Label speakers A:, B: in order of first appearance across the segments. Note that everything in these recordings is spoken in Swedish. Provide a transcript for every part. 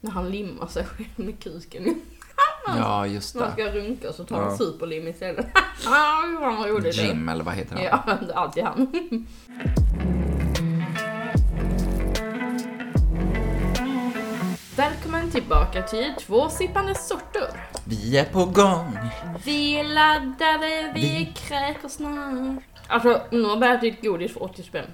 A: När han limmar sig själv med kuken.
B: Ja, just
A: När han
B: det.
A: Alltså, ska runka så tar han
B: Ja.
A: superlim istället. Ah, Fan vad roligt det är.
B: Jim, eller vad heter han?
A: Ja, det är alltid han. Välkommen tillbaka till två sippande sorter.
B: Vi är på gång!
A: Vi är laddade, vi,
B: Vi-
A: kräker snart. Alltså, nu har jag ätit godis för 80 spänn.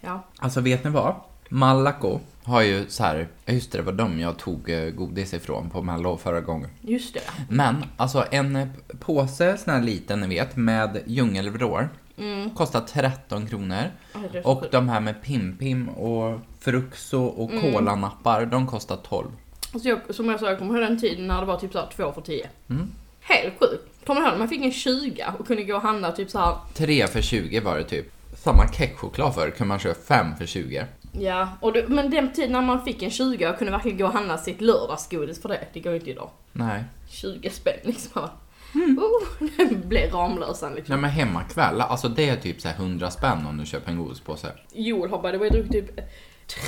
A: Ja.
B: Alltså, vet ni vad? Malaco har ju så här, ja, just det, det var dem jag tog eh, godis ifrån på mello förra gången.
A: Just det.
B: Men, alltså en eh, p- påse, sån här liten ni vet, med djungelvrår,
A: Mm.
B: kostar 13 kronor.
A: Ja, det är så
B: Och
A: sjukt.
B: de här med Pim-Pim och Fruxo och
A: Mm.
B: kolanappar, de kostar 12.
A: Alltså jag, som jag sa, jag kommer ihåg den tiden när det var typ såhär 2 för 10.
B: Mm.
A: Helt sjukt. Kommer du ihåg när man fick en 20 och kunde gå och handla typ såhär,
B: 3 för 20 var det typ. Samma kexchoklad förr kunde man köpa 5 för 20.
A: ja, och det, men den tiden när man fick en 20 och kunde verkligen gå och handla sitt lördagsgodis för det, det går ju inte idag.
B: Nej.
A: 20 spänn liksom. Oh, det blev Ramlösan liksom.
B: Nej Mm. men hemmakväll, alltså det är typ så här 100 spänn om du köper en godispåse.
A: Joel har by the way druckit typ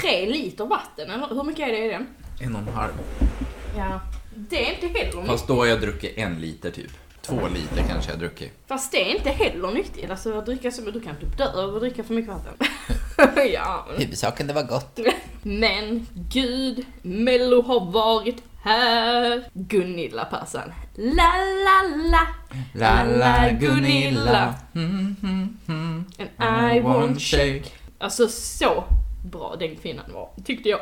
A: 3 liter vatten, eller hur mycket är det i den?
B: En och en halv.
A: Ja. Det är inte heller nyttigt.
B: Fast då har jag druckit en liter typ. Två liter kanske jag har druckit.
A: Fast det är inte heller nyttigt. Alltså att dricka så mycket, du kan typ dö av att dricka för mycket vatten. ja, men
B: Huvudsaken det var gott.
A: Men gud, Mello har varit här. Gunilla Persson. La la la.
B: La la Gunilla. Mm, mm, mm.
A: And I won't shake. Alltså så bra den kvinnan var, tyckte jag.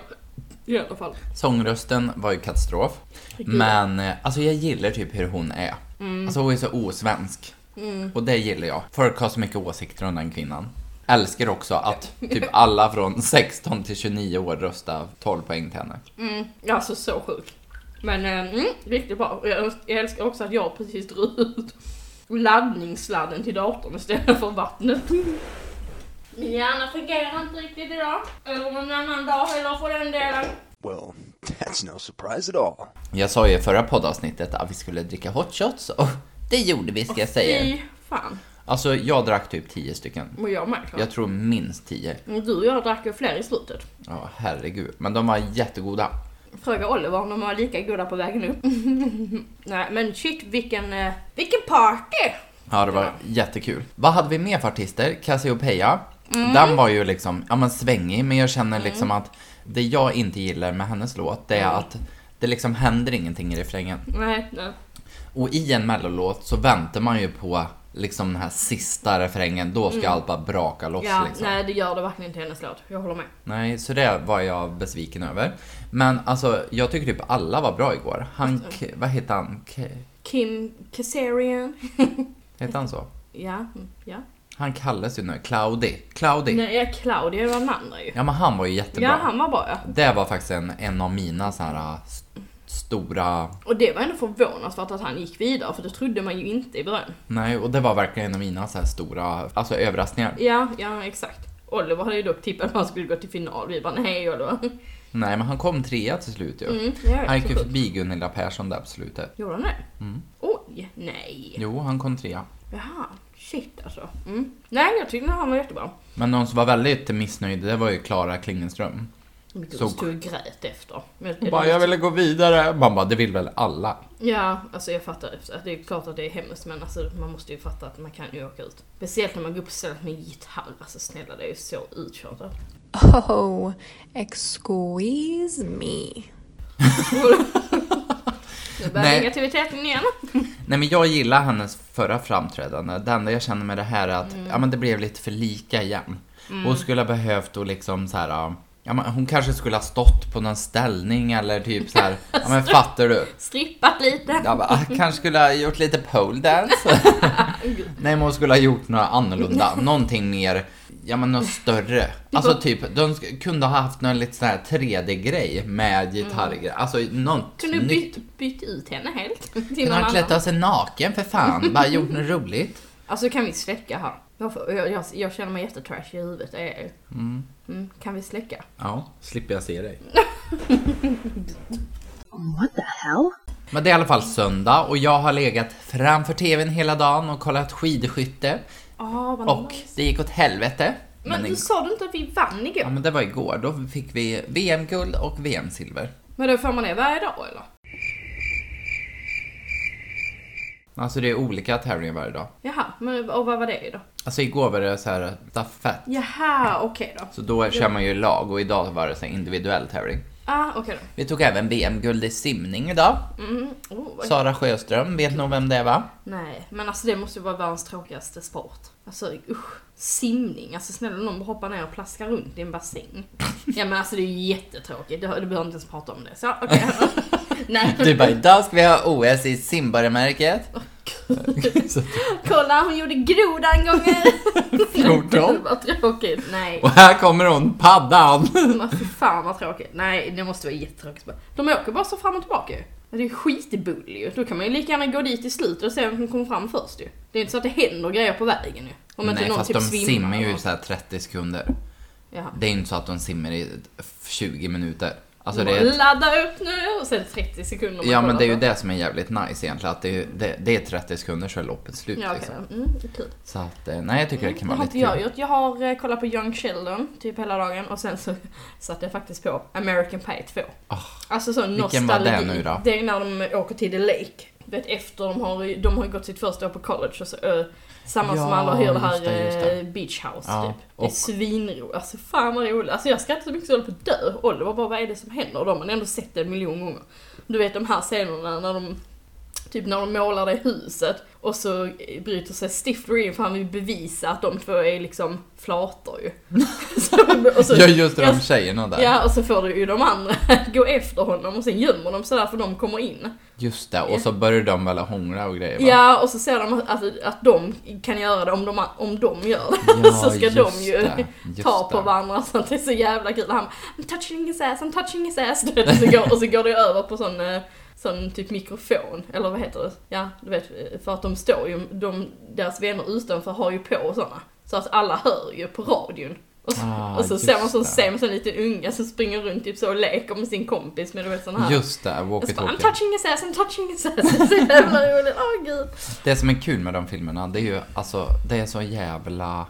A: I alla fall.
B: Sångrösten var ju katastrof. Men eh, alltså jag gillar typ hur hon är. Alltså hon är så osvensk. Och det gillar jag. Folk har så mycket åsikter om den kvinnan. Älskar också att typ alla från 16 till 29 år röstar 12 poäng till henne.
A: Mm, alltså så sjuk. Men eh, mm, riktigt bra. Och Jag, jag älskar också att jag precis drog ut laddningssladden till datorn istället för vattnet. Min hjärna fungerar inte riktigt idag. Eller någon annan dag heller för den delen.
C: Well, that's no surprise at all.
B: Jag sa ju i förra poddavsnittet att vi skulle dricka hot shots och det gjorde vi ska jag säga.
A: Fy fan.
B: Alltså jag drack typ 10 stycken.
A: Och jag med. klart.
B: Jag tror minst 10.
A: Men Mm, Du och jag drack ju fler i slutet.
B: Ja herregud. Men de var jättegoda.
A: Fråga Oliver om de var lika goda på vägen upp. Nej men shit vilken, eh, vilken party!
B: Ja, det var jättekul. Vad hade vi mer för artister? Cassiopeia.
A: Mm.
B: Den var ju liksom, ja men svängig, men jag känner liksom att det jag inte gillar med hennes låt, det är
A: Mm.
B: att det liksom händer ingenting i refrängen.
A: Nej, nej.
B: Och i en mellolåt så väntar man ju på liksom den här sista refrängen, då ska allt bara braka loss
A: Mm. Ja,
B: liksom.
A: nej det gör det verkligen inte i hennes låt. Jag håller med.
B: Nej, så det var jag besviken över. Men alltså, jag tycker typ alla var bra igår. Han, K- vad heter han? K-
A: Kim Kazarian.
B: heter han så?
A: ja, mm, ja.
B: Han kallas ju nu Cloudy. Cloudy.
A: Nej, ja, Claudia var den andra ju.
B: Ja men han var ju jättebra.
A: Ja, han var bra ja.
B: Det var faktiskt en, en av mina så här äh, st- stora...
A: Och det var ändå förvånansvärt att han gick vidare för det trodde man ju inte i början.
B: Nej, och det var verkligen en av mina så här stora alltså, överraskningar.
A: Ja, ja exakt. Oliver hade ju dock tippat att han skulle gå till final. Vi bara nej Oliver.
B: Nej, men han kom trea till slut ju.
A: Mm, ja,
B: Han gick Mm.
A: så
B: ju
A: sjukt.
B: förbi Gunilla Persson där på slutet.
A: Gjorde han det? Oj, nej.
B: Jo, han kom trea.
A: Jaha, shit alltså. Mm. Nej, jag tyckte han var jättebra.
B: Men någon som var väldigt missnöjd, det var ju Klara Klingenström.
A: Mycket
B: Så-
A: stod och grät efter. Men-
B: Hon bara, jag ville gå vidare. Man bara, det vill väl alla?
A: Ja, alltså jag fattar. att Det är klart att det är hemskt men alltså, man måste ju fatta att man kan ju åka ut. Speciellt när man går upp på stället med gitarr. Alltså snälla, det är ju så utkört.
D: Oh, excuse me.
A: Nu börjar
B: Nej.
A: negativiteten igen.
B: Nej men jag gillar hennes förra framträdande. Det enda jag känner med det här är att ja, men det blev lite för lika igen. Hon skulle ha behövt och liksom så här. ja, Ja, men hon kanske skulle ha stått på någon ställning eller typ så här. ja men fattar du?
A: Strippat lite.
B: Ja, men, ah, kanske skulle ha gjort lite pole dance. Nej men hon skulle ha gjort något annorlunda, någonting mer, ja men något större. Alltså typ, de sk- kunde ha haft någon lite sån här 3D-grej med gitarrgrej, alltså något
A: Kunde
B: nytt.
A: bytt, bytt ut henne helt. Till
B: Kunde
A: någon
B: ha klätt
A: annan.
B: av sig naken för fan, bara gjort något roligt.
A: Alltså kan vi släcka här? Varför? Jag, jag, jag känner mig jättetrash i huvudet. Det är jag ju. Mm, kan vi släcka?
B: Ja, slipper jag se dig.
E: What the hell?
B: Men det är i alla fall söndag och jag har legat framför tvn hela dagen och kollat skidskytte.
A: Ah, vad
B: Och
A: nice.
B: det gick åt helvete.
A: Men
B: i-
A: du sa du inte att vi vann
B: Ja
A: igår?
B: men det var igår, då fick vi VM-guld och VM-silver.
A: Men det får man det varje dag eller?
B: Alltså det är olika tävlingar varje dag.
A: Jaha, men, och vad var det då?
B: Alltså igår var det så här stafett.
A: Jaha, okej då.
B: Så då kör man ju lag och idag var det så här individuell tävling.
A: Ah, okej då.
B: Vi tog även VM-guld i simning idag.
A: Mm, oh, vad...
B: Sara Sjöström, vet nog vem det är va?
A: Nej, men alltså det måste ju vara världens tråkigaste sport. Alltså usch. Simning, alltså snälla någon hoppar ner och plaskar runt i en bassäng. Ja men alltså det är ju jättetråkigt, du, du behöver inte ens prata om det. Så okej. Nej.
B: Du bara, idag ska vi ha OS i simborgarmärket. Så-
A: Kolla, hon gjorde grodan gånger!
B: 14.
A: vad tråkigt. Nej,
B: Och här kommer hon, paddan!
A: men fy fan vad tråkigt. Nej, det måste vara jättetråkigt. De åker bara så fram och tillbaka ju. Men Det är ju skitbull ju. Då kan man ju lika gärna gå dit i slutet och se vem som kommer fram först ju. Det är inte så att det händer grejer på vägen ju. Om inte
B: Nej
A: någon
B: fast
A: typ
B: de
A: svimmar
B: simmar
A: eller
B: ju
A: något.
B: så här 30 sekunder.
A: Jaha.
B: Det är inte så att de simmar i 20 minuter. Alltså det är,
A: Ladda upp nu och sen 30 sekunder. man
B: ja men
A: kollar
B: det är ju
A: på.
B: det som är jävligt nice egentligen. Att det, är, ju- det, det är 30 sekunder så är loppet slut
A: Ja, okej.
B: liksom.
A: Mm, det är kul.
B: Så att, eh, nej jag tycker det kan
A: Det
B: vara
A: har
B: lite
A: inte
B: kul.
A: jag gjort. Jag har eh, kollat på Young Sheldon typ hela dagen och sen så satte jag faktiskt på American Pie 2. alltså så nostalgi.
B: Ah, Vilken var det nu då?
A: Det är när de åker till The Lake. Du vet efter de har, ju- de har ju gått sitt första år på college och så ö, samma som
B: Ja,
A: alla hyr det
B: just det, just
A: här
B: det.
A: eh, beach house
B: Ja,
A: typ. Det är
B: och-
A: svinroligt. Alltså fan vad roligt. Alltså jag skrattar så mycket så jag höll på att dö. Oliver bara vad är det som händer? Och de har ändå sett det en miljon gånger. Du vet de här scenerna när de Typ när de målar det i huset och så bryter sig Stifler in för han vill bevisa att de två är liksom flator ju. så, och så,
B: Ja just det, de
A: Ja,
B: tjejerna där.
A: Ja, och så får du ju de andra gå efter honom och sen gömmer de sig där för de kommer in.
B: Just det, och så börjar de väl hångla och grejer va?
A: Ja, och så ser de att, att, att de kan göra det om de, om de gör det.
B: Ja,
A: så ska de
B: just
A: ju
B: det, just
A: ta på
B: det.
A: varandra så att det är så jävla kul. Han I'm touching his ass, I'm touching his ass. Du vet, och, så går, och så går det över på sån, eh, sån typ mikrofon, eller vad heter det? Ja, du vet, eh, för att de står ju, de, deras vänner utanför har ju på såna. Så att alla hör ju på radion. Och så,
B: Ah,
A: och så
B: just
A: ser man som
B: det.
A: sämst en liten unga som springer runt typ så och leker med sin kompis med du vet sån här.
B: Just det,
A: Och så bara, I'm
B: walkie-talkie.
A: touching his ass, I'm touching his ass. Det är så jävla roligt, åh gud.
B: Det som är kul med de filmerna, det är ju alltså, det är så jävla...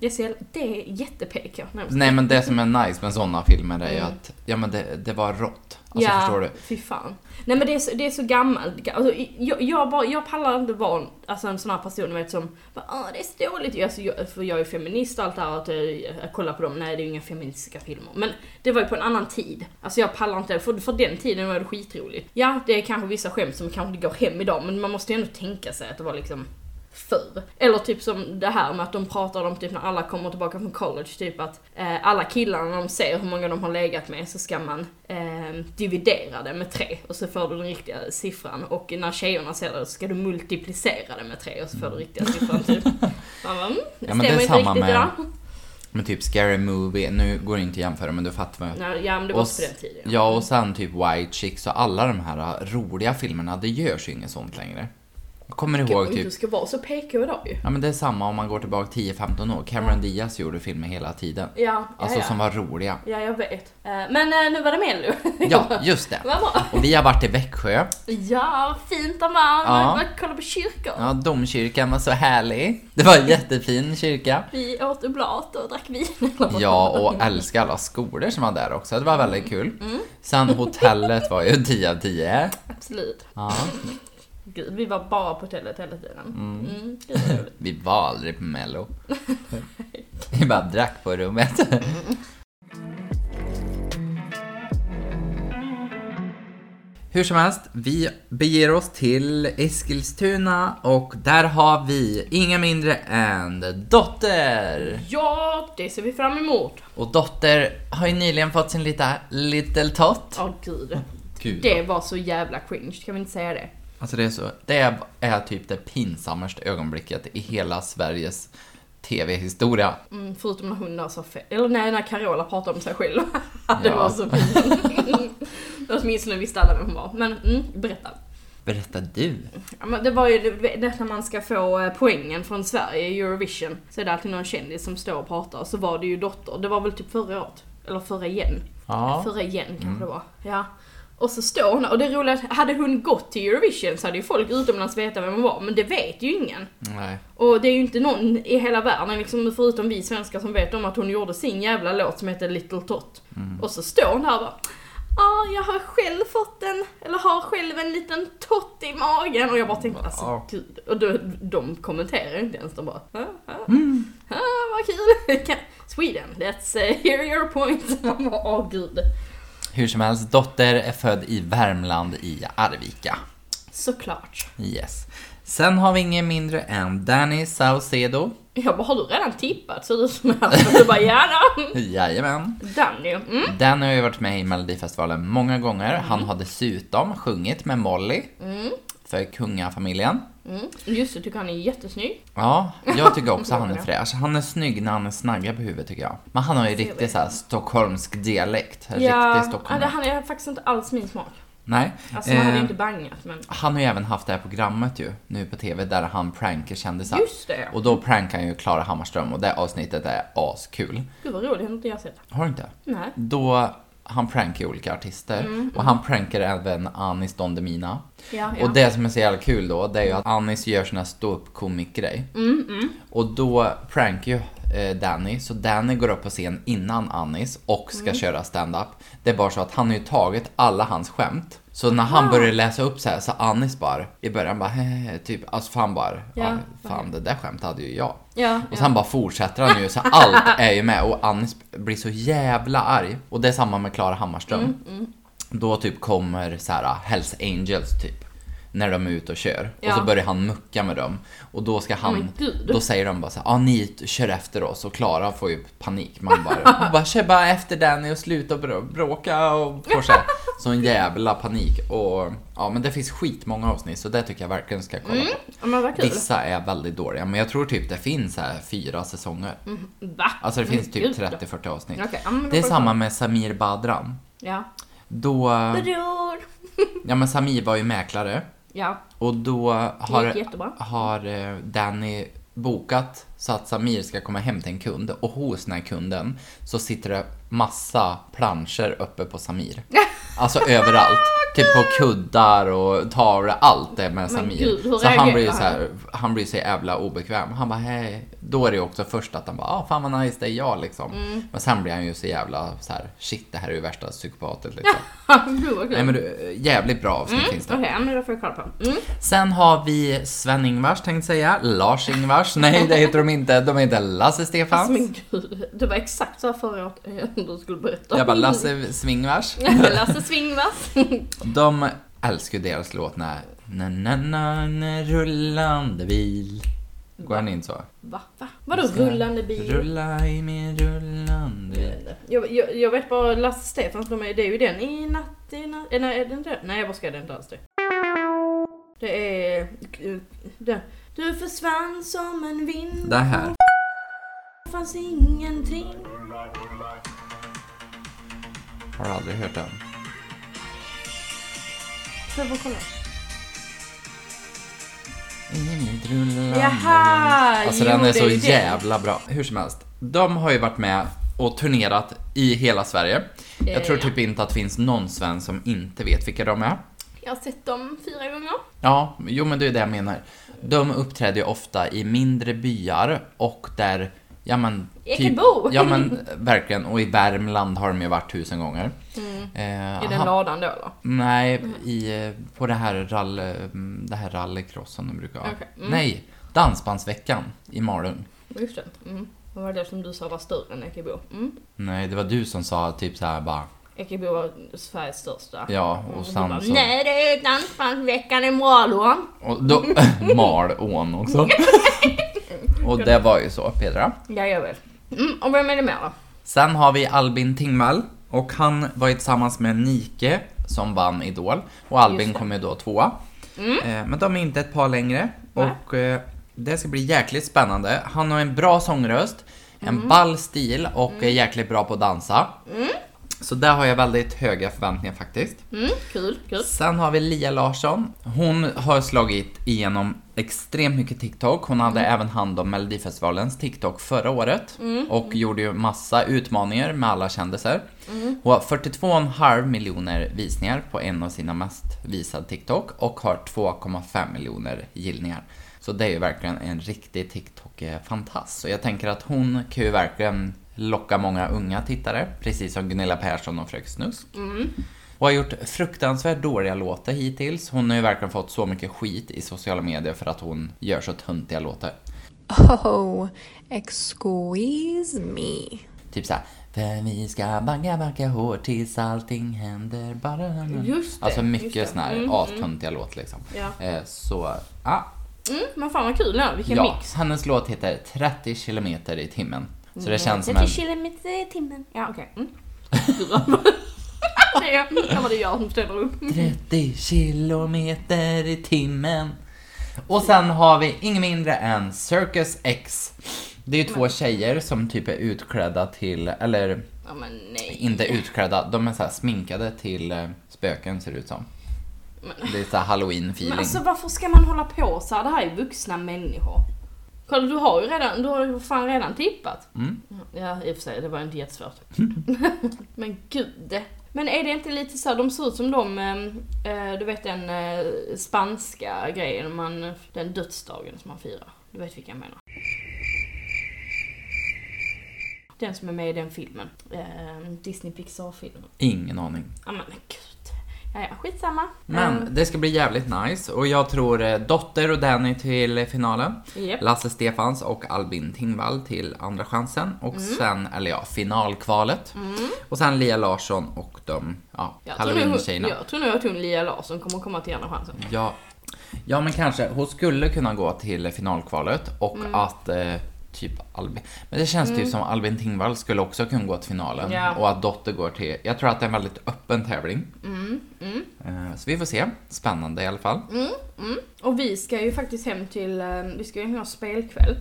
A: Jag ser, det är jätte-PK. Nej, men-
B: Nej men det som är nice med sådana filmer är ju
A: Mm.
B: att, ja men det, det var rått. Alltså förstår du?
A: fy fan. Nej men det är så, det är så gammalt. Alltså, jag, jag, bara, jag pallar inte vara en- alltså, en sån här person du vet, som bara, "Ah, det är så dåligt. Alltså, jag, för jag är feminist och allt det här. Att jag, jag kollar på dem. Nej det är ju inga feministiska filmer. Men det var ju på en annan tid. Alltså jag pallar inte. För, för den tiden var det skitroligt. Ja det är kanske vissa skämt som kanske inte går hem idag. Men man måste ju ändå tänka sig att det var liksom förr. Eller typ som det här med att de pratar om typ när alla kommer tillbaka från college, typ att eh, alla killar när de ser hur många de har legat med så ska man eh, dividera det med tre och så får du den riktiga siffran. Och när tjejerna ser det så ska du multiplicera det med tre och så får du riktiga siffran typ. Man bara, mm, det
B: Ja,
A: stämmer
B: men det är
A: inte
B: samma
A: riktigt
B: med-
A: idag.
B: Men typ Scary Movie, nu går det inte att jämföra men du fattar vad jag
A: Nej, Ja men det var också på den tiden.
B: Ja, och sen typ White Chicks och alla de här äh, roliga filmerna, det görs ju inget sånt längre. Jag kommer ihåg
A: Oj,
B: typ,
A: Du ska vara så PK idag ju.
B: ja men det är samma om man går tillbaka 10-15 år, Cameron Diaz gjorde filmer hela tiden.
A: Ja, ja,
B: Alltså
A: ja.
B: som var roliga.
A: ja jag vet. Eh, men eh, nu var det Mello.
B: Ja, just det.
A: Vad bra.
B: Och vi har varit i Växjö.
A: Ja, fint av man.
B: Ja.
A: Man kollar på kyrkor.
B: Ja, domkyrkan var så härlig. Det var en jättefin kyrka.
A: Vi åt oblat och drack vin. eller vad
B: Ja,
A: fan.
B: och älskar alla skolor som var där också. Det var väldigt kul. Sen hotellet var ju 10 av 10.
A: Absolut.
B: Ja,
A: Gud, vi var bara på hotellet hela tiden. Mm. gud, vad roligt.
B: vi var aldrig på Mello. Vi bara drack på rummet. Hur som helst, vi beger oss till Eskilstuna och där har vi inga mindre än Dotter!
A: ja, det ser vi fram emot.
B: Och Dotter har ju nyligen fått sin lilla Little Tot.
A: Åh gud.
B: Gud.
A: Det var så jävla cringe, kan vi inte säga det?
B: Alltså det är så, det är typ det pinsammaste ögonblicket i hela Sveriges TV-historia.
A: Mm, förutom när hon där sa fel. Eller nej, när Carola pratade om sig själv. det
B: Ja.
A: var så pinsamt. Åtminstone visste alla vem hon var. Men mm, berätta.
B: Berätta du.
A: Ja, men det var ju du vet, när man ska få eh, poängen från Sverige i Eurovision så är det alltid någon kändis som står och pratar. Så var det ju Dotter. Det var väl typ förra året. Eller förra igen.
B: Ja.
A: Förra igen kanske det var. Ja. Och så står hon där. och det roliga är att hade hon gått till Eurovision så hade ju folk utomlands vetat vem hon var. Men det vet ju ingen.
B: Nej.
A: Och det är ju inte någon i hela världen liksom, förutom vi svenskar som vet om att hon gjorde sin jävla låt som heter Little Tot. Och så står hon där och bara ah, jag har själv fått en, eller har själv en liten tott i magen. Och jag bara tänkte alltså
B: Ja.
A: gud. Och då, de kommenterar inte ens, de bara, ah, ah, ah, vad kul. Sweden, let's eh, hear your point. Man bara, åh gud.
B: Hur som helst, dotter är född i Värmland i Arvika.
A: Såklart.
B: Yes. Sen har vi ingen mindre än Danny Saucedo.
A: Jag bara, har du redan tippat? Ser du som helst. Du bara, ja då.
B: Jajamän.
A: Danny. Mm.
B: Den har ju varit med i Melodifestivalen många gånger. Han har dessutom sjungit med Molly för kungafamiljen.
A: Mm. Just det, tycker han är jättesnygg.
B: Ja, jag tycker också han är fräsch. Han är snygg när han är snagga på huvudet tycker jag. Men han har ju riktigt så här stockholmsk dialekt.
A: Ja,
B: Riktig
A: ja, det,
B: stockholmare.
A: han är faktiskt inte alls min smak.
B: Nej.
A: Alltså man hade ju
B: eh,
A: inte bangat men
B: Han har ju även haft det här programmet ju, nu på TV, där han prankar kändisar.
A: just det.
B: Och då prankar han ju Klara Hammarström och det avsnittet är askul.
A: Gud vad roligt, det har inte jag sett.
B: Har du inte?
A: Nej.
B: Då han prankar ju olika artister
A: Mm.
B: och han prankar även Anis Don Demina.
A: Ja,
B: Och det som är så jävla kul då, det är ju att Anis gör sån här ståuppkomikgrej.
A: Mm,
B: Och då prankar ju eh, Danny, så Danny går upp på scen innan Anis och
A: Mm.
B: ska köra stand-up. Det är bara så att han har ju tagit alla hans skämt. Så när
A: Ah.
B: han började läsa upp så här så Anis bara, i början bara "Hehehe", typ, alltså fan bara, ja,
A: vad
B: fan det där skämtet hade ju jag.
A: ja,
B: Och sen bara fortsätter han ju så allt är ju med och Anis blir så jävla arg. Och det är samma med Klara Hammarström.
A: Mm,
B: Då typ kommer så här Hells Angels typ. När de är ute och kör. Och
A: Ja. Oh
B: så börjar han mucka med dem. Och då ska han,
A: men gud.
B: då säger de bara så här, ah, ni t- kör efter oss. Och Klara får ju panik. Man bara, hon bara, kör bara efter Danny och sluta brå- bråka och får så här, sån jävla panik. Och ja men det finns skitmånga avsnitt så det tycker jag verkligen ska kolla på.
A: ja. Men vad Mm, kul.
B: Vissa är väldigt dåliga, men jag tror typ det finns så här fyra säsonger.
A: Va?
B: Alltså det finns
A: Gud
B: typ
A: Mm. då.
B: 30-40 avsnitt.
A: Okej, ja, men då
B: Det är
A: får jag
B: samma med Samir Badran.
A: Ja.
B: Då,
A: Bror.
B: ja men Samir var ju mäklare
A: Ja,
B: och då
A: gick
B: har,
A: jättebra.
B: har eh, Danny bokat så att Samir ska komma hem till en kund och hos den här kunden så sitter det massa planscher uppe på Samir. Alltså överallt. Typ på kuddar och tavlor, allt det med Samir.
A: gud, hur
B: så han
A: reagerar
B: blir ju
A: han?
B: så här, han blir så jävla obekväm. Han bara hej. Då är det ju också först att han bara, ah fan vad nice det är jag liksom.
A: Mm.
B: Men sen blir han ju så jävla så här, shit det här är ju värsta psykopatet liksom.
A: Gud vad
B: Nej
A: kul.
B: men du, jävligt bra avsnitt finns det.
A: Okej, ja, men det får jag kolla på. Mm.
B: Sen har vi Sven-Ingvars tänkte säga, Lars-Ingvars, nej det heter de inte, de heter
A: Alltså,
B: Lasse-Stefans.
A: men gud, det var exakt så här förra året eh, du skulle berätta.
B: Jag bara Lasse Svingvars.
A: Lasse Svingvars.
B: De älskar ju deras låt när na, na, na, na, rullande bil. Går den in så?
A: Va? Va? Vadå rullande bil?
B: Rulla i min rullande bil.
A: Jag, jag, jag vet bara Lasse Stefans de är, det är ju den i natt, i natt, eh, nej är det inte den? Nej jag bara ska det är inte alls det. Det är... eh, Det. Du försvann som en vind.
B: Det här.
A: Det fanns ingenting.
B: Har du aldrig hört den?
A: Så jag får kolla.
B: I mitt rullande
A: Jaha!
B: Alltså
A: jo,
B: den är
A: det
B: så
A: ju den.
B: jävla bra. Hur som helst. De har ju varit med och turnerat i hela Sverige. Jag tror
A: Eh, ja.
B: typ inte att det finns någon svensk som inte vet vilka de är.
A: Jag har sett dem fyra gånger.
B: Ja, jo men det är det jag menar. De uppträder ju ofta i mindre byar och där, ja men... typ-
A: Ekebo.
B: ja men verkligen, och i Värmland har de ju varit tusen gånger.
A: Mm.
B: Eh,
A: I den
B: han-
A: ladan då eller?
B: Nej,
A: Mm.
B: i, eh, på det här, rall, mm, det här rallycrossen de brukar ha.
A: Okej, mm.
B: Nej, Dansbandsveckan i Malung.
A: Just det. Mm. Vad var det som du sa var större än Ekebo? Mm.
B: Nej, det var du som sa typ så här bara,
A: Ekebo var Sveriges största.
B: ja,
A: Och
B: och
A: du bara,
B: sen så...
A: Nej det är dansbandsveckan i Malå.
B: Och då, Malån också. och det var ju så, Petra.
A: Ja, jag vet. Mm, och vem är det mer då?
B: Sen har vi Albin Tingvall och han var ju tillsammans med Nike som vann Idol och Albin
A: Just det. Mm.
B: kom ju då tvåa. Eh, Men de är inte ett par längre
A: Va?
B: och eh, det ska bli jäkligt spännande. Han har en bra sångröst,
A: Mm.
B: en ball stil och är jäkligt bra på att dansa. Så där har jag väldigt höga förväntningar faktiskt.
A: Mm, kul, kul.
B: Sen har vi Lia Larsson. Hon har slagit igenom extremt mycket TikTok. Hon hade även hand om Melodifestivalens TikTok förra året. Och gjorde ju massa utmaningar med alla kändisar. Hon har 42,5 miljoner visningar på en av sina mest visade TikTok. Och har 2,5 miljoner gillningar. Så det är ju verkligen en riktig TikTok-fantast. Så jag tänker att hon kan ju verkligen locka många unga tittare. Precis som Gunilla Persson och Fröken Snusk. Och har gjort fruktansvärt dåliga låtar hittills. Hon har ju verkligen fått så mycket skit i sociala medier för att hon gör så töntiga låtar.
D: Oh, excuse me.
B: Typ såhär. För vi ska banka, banka hårt tills allting händer bara...
A: Just det,
B: Alltså
A: just det.
B: mycket såna här
A: Mm,
B: astöntiga låt liksom.
A: Ja.
B: Eh, så, ja.
A: Mm, men fan vad kul det här, vilken
B: ja.
A: mix.
B: Hennes låt heter 30 kilometer i timmen. Så
A: Mm.
B: det känns som en...
A: 30 kilometer i eh, timmen. Ja, okej. Mm. det är, ja, men det är jag som ställer upp.
B: 30 kilometer i timmen. Och sen har vi ingen mindre än Circus X. Det är ju två tjejer som typ är utklädda till, eller
A: Ja, men nej.
B: inte utklädda, de är så här sminkade till eh, spöken ser det ut som. Det är så här
A: Men
B: halloween-feeling.
A: alltså varför ska man hålla på så här? Det här är vuxna människor. Kolla du har ju redan, du har ju fan redan tippat.
B: Mm.
A: Ja i och för sig, det var inte jättesvårt. Men gud. Men är det inte lite så här, de ser ut som de, eh, eh, du vet den eh, spanska grejen, man, den dödsdagen som man firar. Du vet vilka jag menar. Den som är med i den filmen. Eh, Disney Pixar-filmen.
B: Ingen aning.
A: Ja men gud. Ja, ja, skitsamma. Ehm,
B: Men det ska bli jävligt nice och jag tror eh, Dotter och Danny till eh, finalen.
A: Japp.
B: Lasse Stefans och Albin Tingvall till andra chansen och
A: Mm.
B: sen, eller ja, finalkvalet. Och sen Lia Larsson och de, ja,
A: Jag tror, nog,
B: halloween-tjejerna.
A: jag tror nog att hon Lia Larsson kommer komma till Andra chansen.
B: Ja, ja, men kanske. Hon skulle kunna gå till finalkvalet och
A: Mm.
B: att eh, typ Albin... Men det känns typ som Albin Tingvall skulle också kunna gå till finalen
A: Ja.
B: och att Dotter går till... Jag tror att det är en väldigt öppen tävling.
A: Mm.
B: Eh, så vi får se. Spännande i alla fall.
A: Och vi ska ju faktiskt hem till, eh, vi ska ju ha spelkväll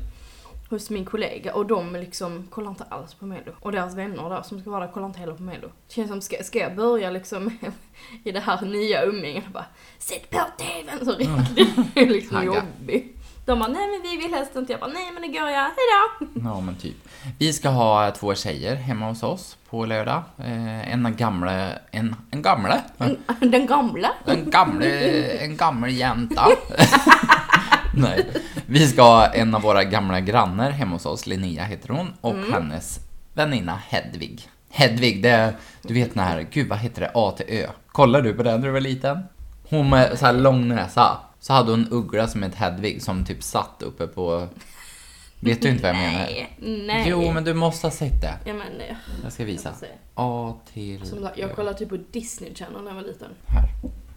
A: hos min kollega och de liksom kollar inte alls på Mello. Och deras vänner där som ska vara där kollar inte heller på Mello. Det känns som, ska, ska jag börja liksom i det här nya umgänget och bara Sätt på TVn! Så
B: Mm.
A: riktigt liksom
B: Tagga.
A: jobbig. De bara nej men vi vill helst inte. Jag bara nej men det går jag, hejdå!
B: Ja, men typ. Vi ska ha två tjejer hemma hos oss på lördag. Eh, en gamle... En, en gamle?
A: Den gamla.
B: En gamle... En gammal jänta. Nej. Vi ska ha en av våra gamla grannar hemma hos oss, Linnea heter hon, och hennes väninna Hedvig. Hedvig, det är, du vet den här, gud vad heter det, A till Ö. Kollar du på den när du var liten? Hon med så här lång näsa. Så hade hon en uggla som hette Hedvig som typ satt uppe på... Vet du inte vad jag menar?
A: Nej. Nej.
B: Jo, men du måste ha sett det.
A: Ja men nej.
B: Jag ska visa.
A: Jag får se.
B: A till...
A: Som sagt, jag kollade typ på Disney Channel när jag var liten.
B: Mm. Här.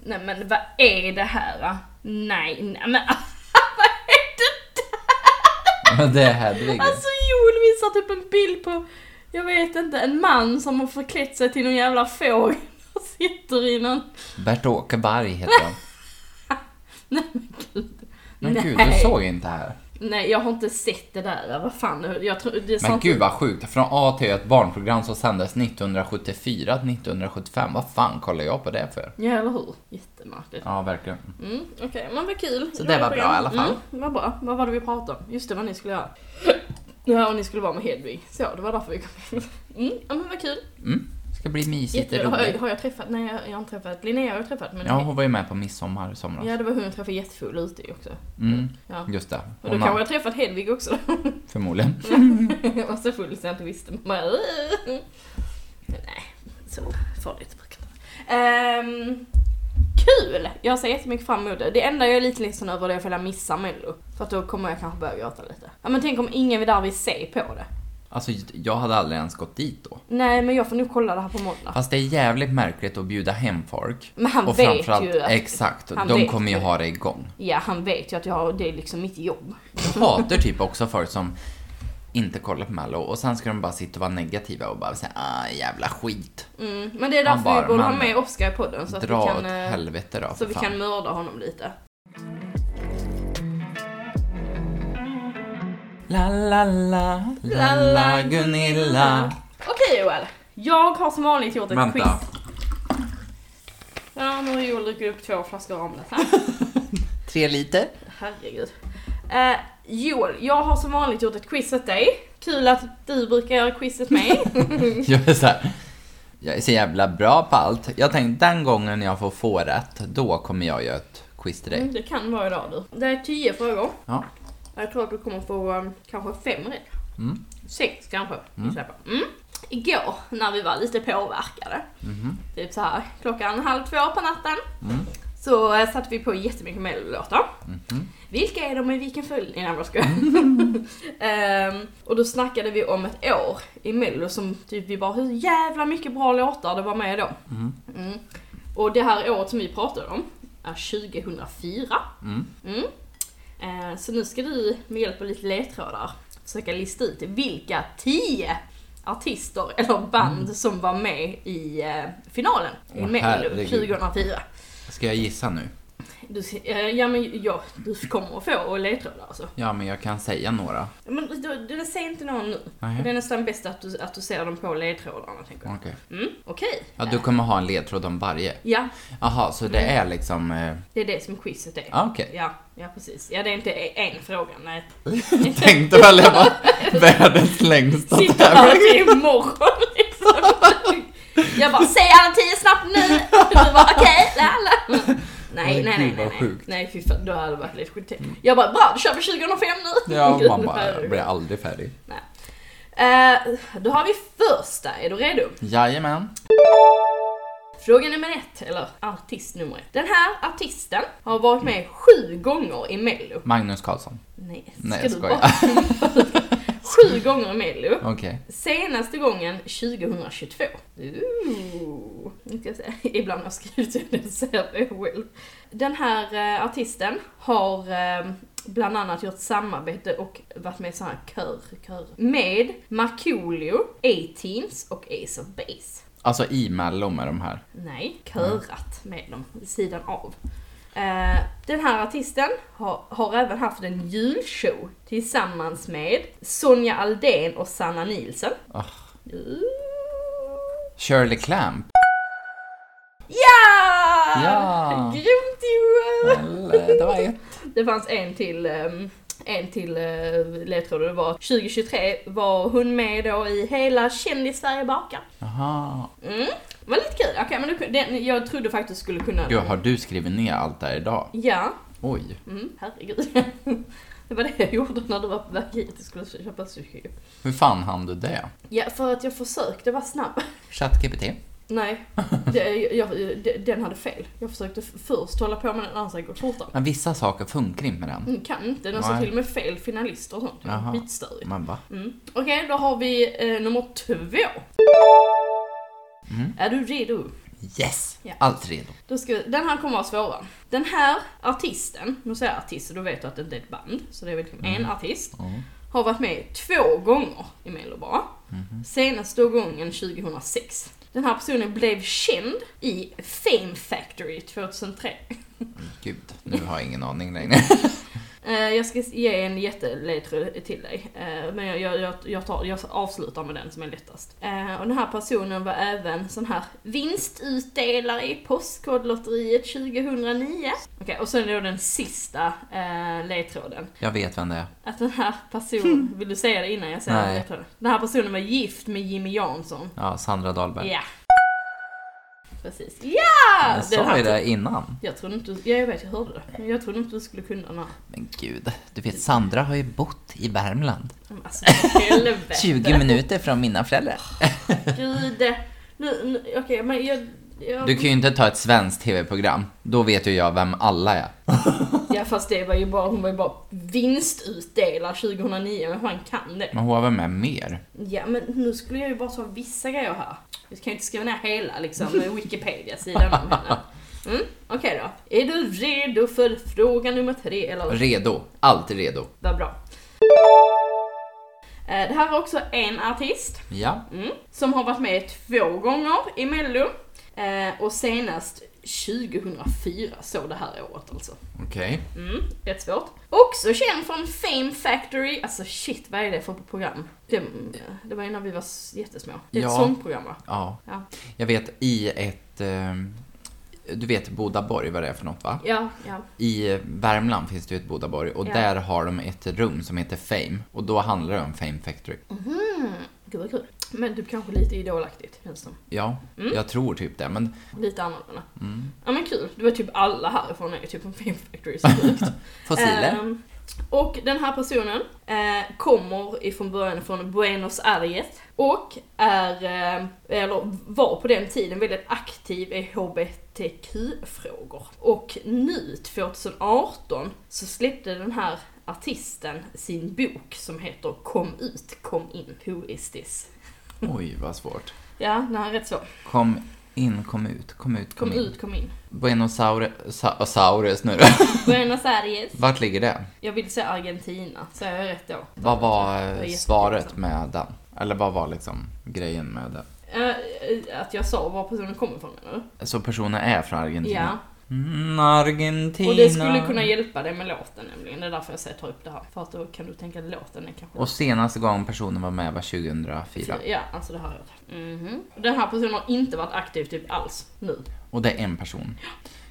A: Nej men vad är det här? ah? Nej, nej men vad är det där?
B: Men det är Hedvig.
A: Alltså Joel visar typ en bild på, jag vet inte, en man som har förklätt sig till någon jävla fågel och sitter i någon...
B: Bert-Åke Berg heter han.
A: Nej men gud.
B: Men
A: nej.
B: gud, du såg inte det här.
A: Nej, jag har inte sett det där. Vad fan, jag tror... Det är
B: Men
A: sant-
B: gud vad sjukt. Från A till Ö, ett barnprogram som sändes 1974 till 1975. Vad fan kollar jag på det för?
A: Ja, eller hur? Jättemärkligt.
B: Ja, verkligen.
A: Mm, Okej, men vad kul.
B: Så det var bra i alla fall.
A: Mm, det var bra. Vad var det vi pratade om? Just det, vad ni skulle göra. Ja, och ni skulle vara med Hedvig. Så, det var därför vi kom in. Mm, ja, men vad kul.
B: Mm. Ska bli mysigt och
A: Jättebra. Har, jag-
B: roligt.
A: har jag träffat? Nej, jag, jag har inte träffat. Linnea har jag träffat. Men
B: Ja, hon var ju med på midsommar i somras.
A: ja, det var hon jag träffade jättefull ute i också.
B: Mm,
A: Ja.
B: just det.
A: Och då
B: Hon
A: kanske
B: har,
A: jag träffat Hedvig också.
B: förmodligen.
A: jag var så full så jag inte visste. Man Bara, "Åh." Men nej, så farligt brukar det vara. Ehm, Kul! Jag ser jättemycket fram emot det. Det enda jag är lite ledsen över det är ifall jag missar Mello. För att då kommer jag kanske börja gråta lite. Ja men tänk om ingen vid där vill se på det.
B: Alltså, jag hade aldrig ens gått dit då.
A: Nej men jag får nog kolla det här på måndag.
B: Fast det är jävligt märkligt att bjuda hem folk.
A: Men han
B: och
A: vet
B: framförallt,
A: ju att-
B: exakt,
A: han
B: de
A: vet
B: kommer ju
A: ju.
B: ha det igång.
A: Ja han vet ju att jag har, det är liksom mitt jobb.
B: Jag hatar typ också folk som inte kollar på Mello och sen ska de bara sitta och vara negativa och bara säga ah, jävla skit.
A: Mm, men det är
B: Han
A: därför
B: bara,
A: vi borde ha
B: "Man,
A: med Oscar i podden så att vi
B: Dra
A: kan...
B: åt
A: eh,
B: helvete då
A: Så
B: för
A: vi
B: fan.
A: kan mörda honom lite.
B: La la la, la la Gunilla.
A: Okej Joel, jag har som vanligt gjort ett quiz.
B: Vänta.
A: Ja, nu har Joel druckit upp två flaskor Ramlösa.
B: Tre liter?
A: Herregud. Eh, Joel, jag har som vanligt gjort ett quiz åt dig. Kul att du brukar göra quiz åt mig.
B: Jag är så här. Jag är så jävla bra på allt. Jag tänkte den gången jag får få rätt, då kommer jag göra ett quiz till dig.
A: Mm, det kan vara idag du. Det är tio frågor.
B: Ja.
A: Jag tror att du kommer få um, kanske fem ehm, rätt.
B: Mm.
A: Sex kanske. Mm. Mm. igår när vi var lite påverkade.
B: Mhm.
A: Typ så här klockan halv två på natten. Så eh, satte vi på jättemycket mellolåtar. Vilka är de och i vilken följd? Nej, jag skojar. Ehm, och då snackade vi om ett år i mello som typ vi bara, hur jävla mycket bra låtar det var med då. Mm. Och det här året som vi pratade om är 2004. Mm. Eh, Så nu ska du med hjälp av lite ledtrådar försöka lista ut vilka 10 artister eller band som var med i eh, finalen i
B: Åh,
A: Mello
B: herregud.
A: 2004.
B: Ska jag gissa nu?
A: Du, ska- eh, ja, men, ja, du kommer att få ledtrådar alltså.
B: Ja, men jag kan säga några.
A: Men du, du, du säger inte någon nu.
B: Nej.
A: Det är nästan bäst att du, att du ser dem på ledtrådarna tänker jag.
B: Okej.
A: Mm, Okej.
B: Ja, du kommer ha en ledtråd om varje?
A: Ja,
B: Jaha, så det är liksom... eh,
A: det är det som quizet är.
B: Ja, okej.
A: Ja, ja, precis. Ja, det är inte e- en fråga, nej.
B: Jag tänkte väl det var världens längsta
A: Sitta här
B: tävling.
A: till imorgon liksom. Jag bara, säg alla tio snabbt nu! Du bara, okej, la, la. Nej, nej,
B: Men
A: nej,
B: gud,
A: nej,
B: vad
A: nej.
B: sjukt.
A: Nej, fy fan, då hade det varit lite skit. Jag bara, bra, då kör vi 2005 nu!
B: Ja,
A: Gud,
B: man bara,
A: herregud.
B: jag blir aldrig färdig.
A: Eh, då har vi första, är du redo?
B: Jajamän.
A: Fråga nummer ett, eller artist nummer ett. Den här artisten har varit med sju gånger i mello.
B: Magnus Karlsson.
A: Nej, ska
B: Nej, jag
A: du
B: skojar.
A: bara... sju gånger i mello.
B: Okej.
A: Senaste gången 2022. Ooh, nu ska jag säga. Ibland har jag skrivit så jag ser det själv. Den här eh, artisten har eh, bland annat gjort samarbete och varit med i såna här kör, kör. Med Markoolio, A-Teens och Ace of Base.
B: Alltså i Mello med de här.
A: Nej, körat med dem vid sidan av. Eh, Den här artisten har, har även haft en julshow tillsammans med Sonja Aldén och Sanna Nielsen.
B: Ah.
A: Ooh.
B: Shirley Clamp.
A: Ja!
B: Ja.
A: Grymt Johan!
B: Eller, Det var ett.
A: Det fanns en till, ehm, en till eh, ledtråd och det var 2023 var hon med då i hela Kändis-Sverige bakar.
B: Jaha.
A: Mm, det var lite kul. Okej, men du, kunde- den, jag trodde faktiskt du skulle kunna...
B: Gud, har du skrivit ner allt det här idag?
A: Ja,
B: Oj.
A: mm, herregud. Det var det jag gjorde när du var på väg hit, jag skulle köpa sushi.
B: Hur fan hann du det?
A: Ja, för att jag försökte vara snabb.
B: ChatGPT?
A: Nej, det, jag, det, den hade fel. Jag försökte f- först hålla på med den andra så jag går fortare.
B: Men vissa saker funkar inte med den.
A: Mm, Kan inte, den sa
B: Nej.
A: till och med fel finalister och sånt.
B: Jaha.
A: Skitstörigt.
B: Man bara,
A: Mm. Okej, då har vi eh, nummer två.
B: Mm.
A: Är du redo?
B: yes!
A: Ja.
B: Allt redo.
A: Då ska vi, den här kommer vara svårare. Den här artisten, nu säger jag artist så då vet du att det inte är ett band, så det är väl liksom en artist,
B: Mm.
A: har varit med två gånger i Mello bara. Senaste gången 2006. Den här personen blev känd i Fame Factory 2003.
B: Gud, nu har jag ingen aning längre.
A: Eh, Jag ska ge en jätteledtråd till dig, Eh, men jag, jag, jag, jag, tar, jag avslutar med den som är lättast. Eh, Och den här personen var även sån här vinstutdelare i Postkodlotteriet 2009. Okej, och sen då den sista eh, ledtråden.
B: Jag vet vem det är.
A: Att den här personen, vill du säga det innan jag säger
B: Nej.
A: ledtråden? Den här personen var gift med Jimmy Jansson.
B: Ja, Sandra Dahlberg.
A: Ja! Precis. Ja!
B: Jag
A: Den
B: sa
A: här-
B: ju det innan.
A: Jag trodde inte du, ja, jag vet jag hörde det. Men jag trodde inte du skulle kunna den här.
B: Men gud, du vet Sandra har ju bott i Värmland.
A: Men Alltså helvete.
B: 20 minuter från mina föräldrar.
A: Gud. eh, Nu, nu, Okej, men jag... jag
B: Du kan ju inte ta ett svenskt tv-program. Då vet ju jag vem alla är.
A: Ja fast det var ju bara, hon var ju bara vinstutdelare 2009, men fan kan det?
B: Men hon har väl med mer?
A: Ja men nu skulle jag ju bara ta vissa grejer här. Vi kan ju inte skriva ner hela liksom Wikipedia-sidan om henne. Mm, Okej då. Är du redo för fråga nummer tre? Eller
B: Redo. Alltid redo.
A: vad bra. Eh, Det här var också en artist.
B: Ja.
A: Mm. Som har varit med två gånger i Mello. Eh, och senast 2004, så det här året alltså.
B: Okej.
A: Mm, rätt svårt. Också känd från Fame Factory. Alltså shit, vad är det för program? Det, det var ju när vi var s- jättesmå. Det är ett
B: Ja.
A: sångprogram va?
B: Ja.
A: Ja.
B: Jag vet i ett... ehm, Du vet Bodaborg vad det är för något va?
A: Ja, ja.
B: I Värmland finns det ju ett Bodaborg och
A: Ja.
B: där har de ett rum som heter Fame. Och då handlar det om Fame Factory.
A: Mm, Gud vad kul. Men typ kanske lite idolaktigt, känns det som.
B: Ja,
A: Mm.
B: jag tror typ det. Men mm.
A: Lite annorlunda. Ja men kul. Det var typ alla härifrån är ju typ från Fame Factory, så sjukt.
B: fossiler?
A: Ehm, Och den här personen eh, kommer ifrån början från Buenos Aires och är, eh, eller var på den tiden väldigt aktiv i HBTQ-frågor. Och nu 2018 så släppte den här artisten sin bok som heter Kom ut, kom in, who is this? Eh.
B: Oj, vad svårt.
A: Ja, den här är rätt så.
B: Kom in, kom ut, kom ut, kom,
A: Kom
B: in.
A: ut, kom in.
B: Buenosaurus nu då.
A: Buenos Aires.
B: Vart ligger det?
A: Jag vill säga Argentina, så jag är rätt då.
B: Vad var
A: Jag är
B: eh,
A: jättekul,
B: svaret
A: alltså.
B: med den? Eller vad var liksom grejen med den?
A: Eh, eh, att jag sa var personen kommer ifrån eller?
B: Så personen är från
A: Ja.
B: Argentina? Mm, Argentina.
A: Och det skulle kunna hjälpa dig med låten nämligen. Det är därför jag säger ta upp det här. För att då kan du tänka att låten är kanske...
B: Och senaste gången personen var med var 2004.
A: Ja, alltså det har jag hört. Mhm. Den här personen har inte varit aktiv typ alls nu.
B: Och det är en person.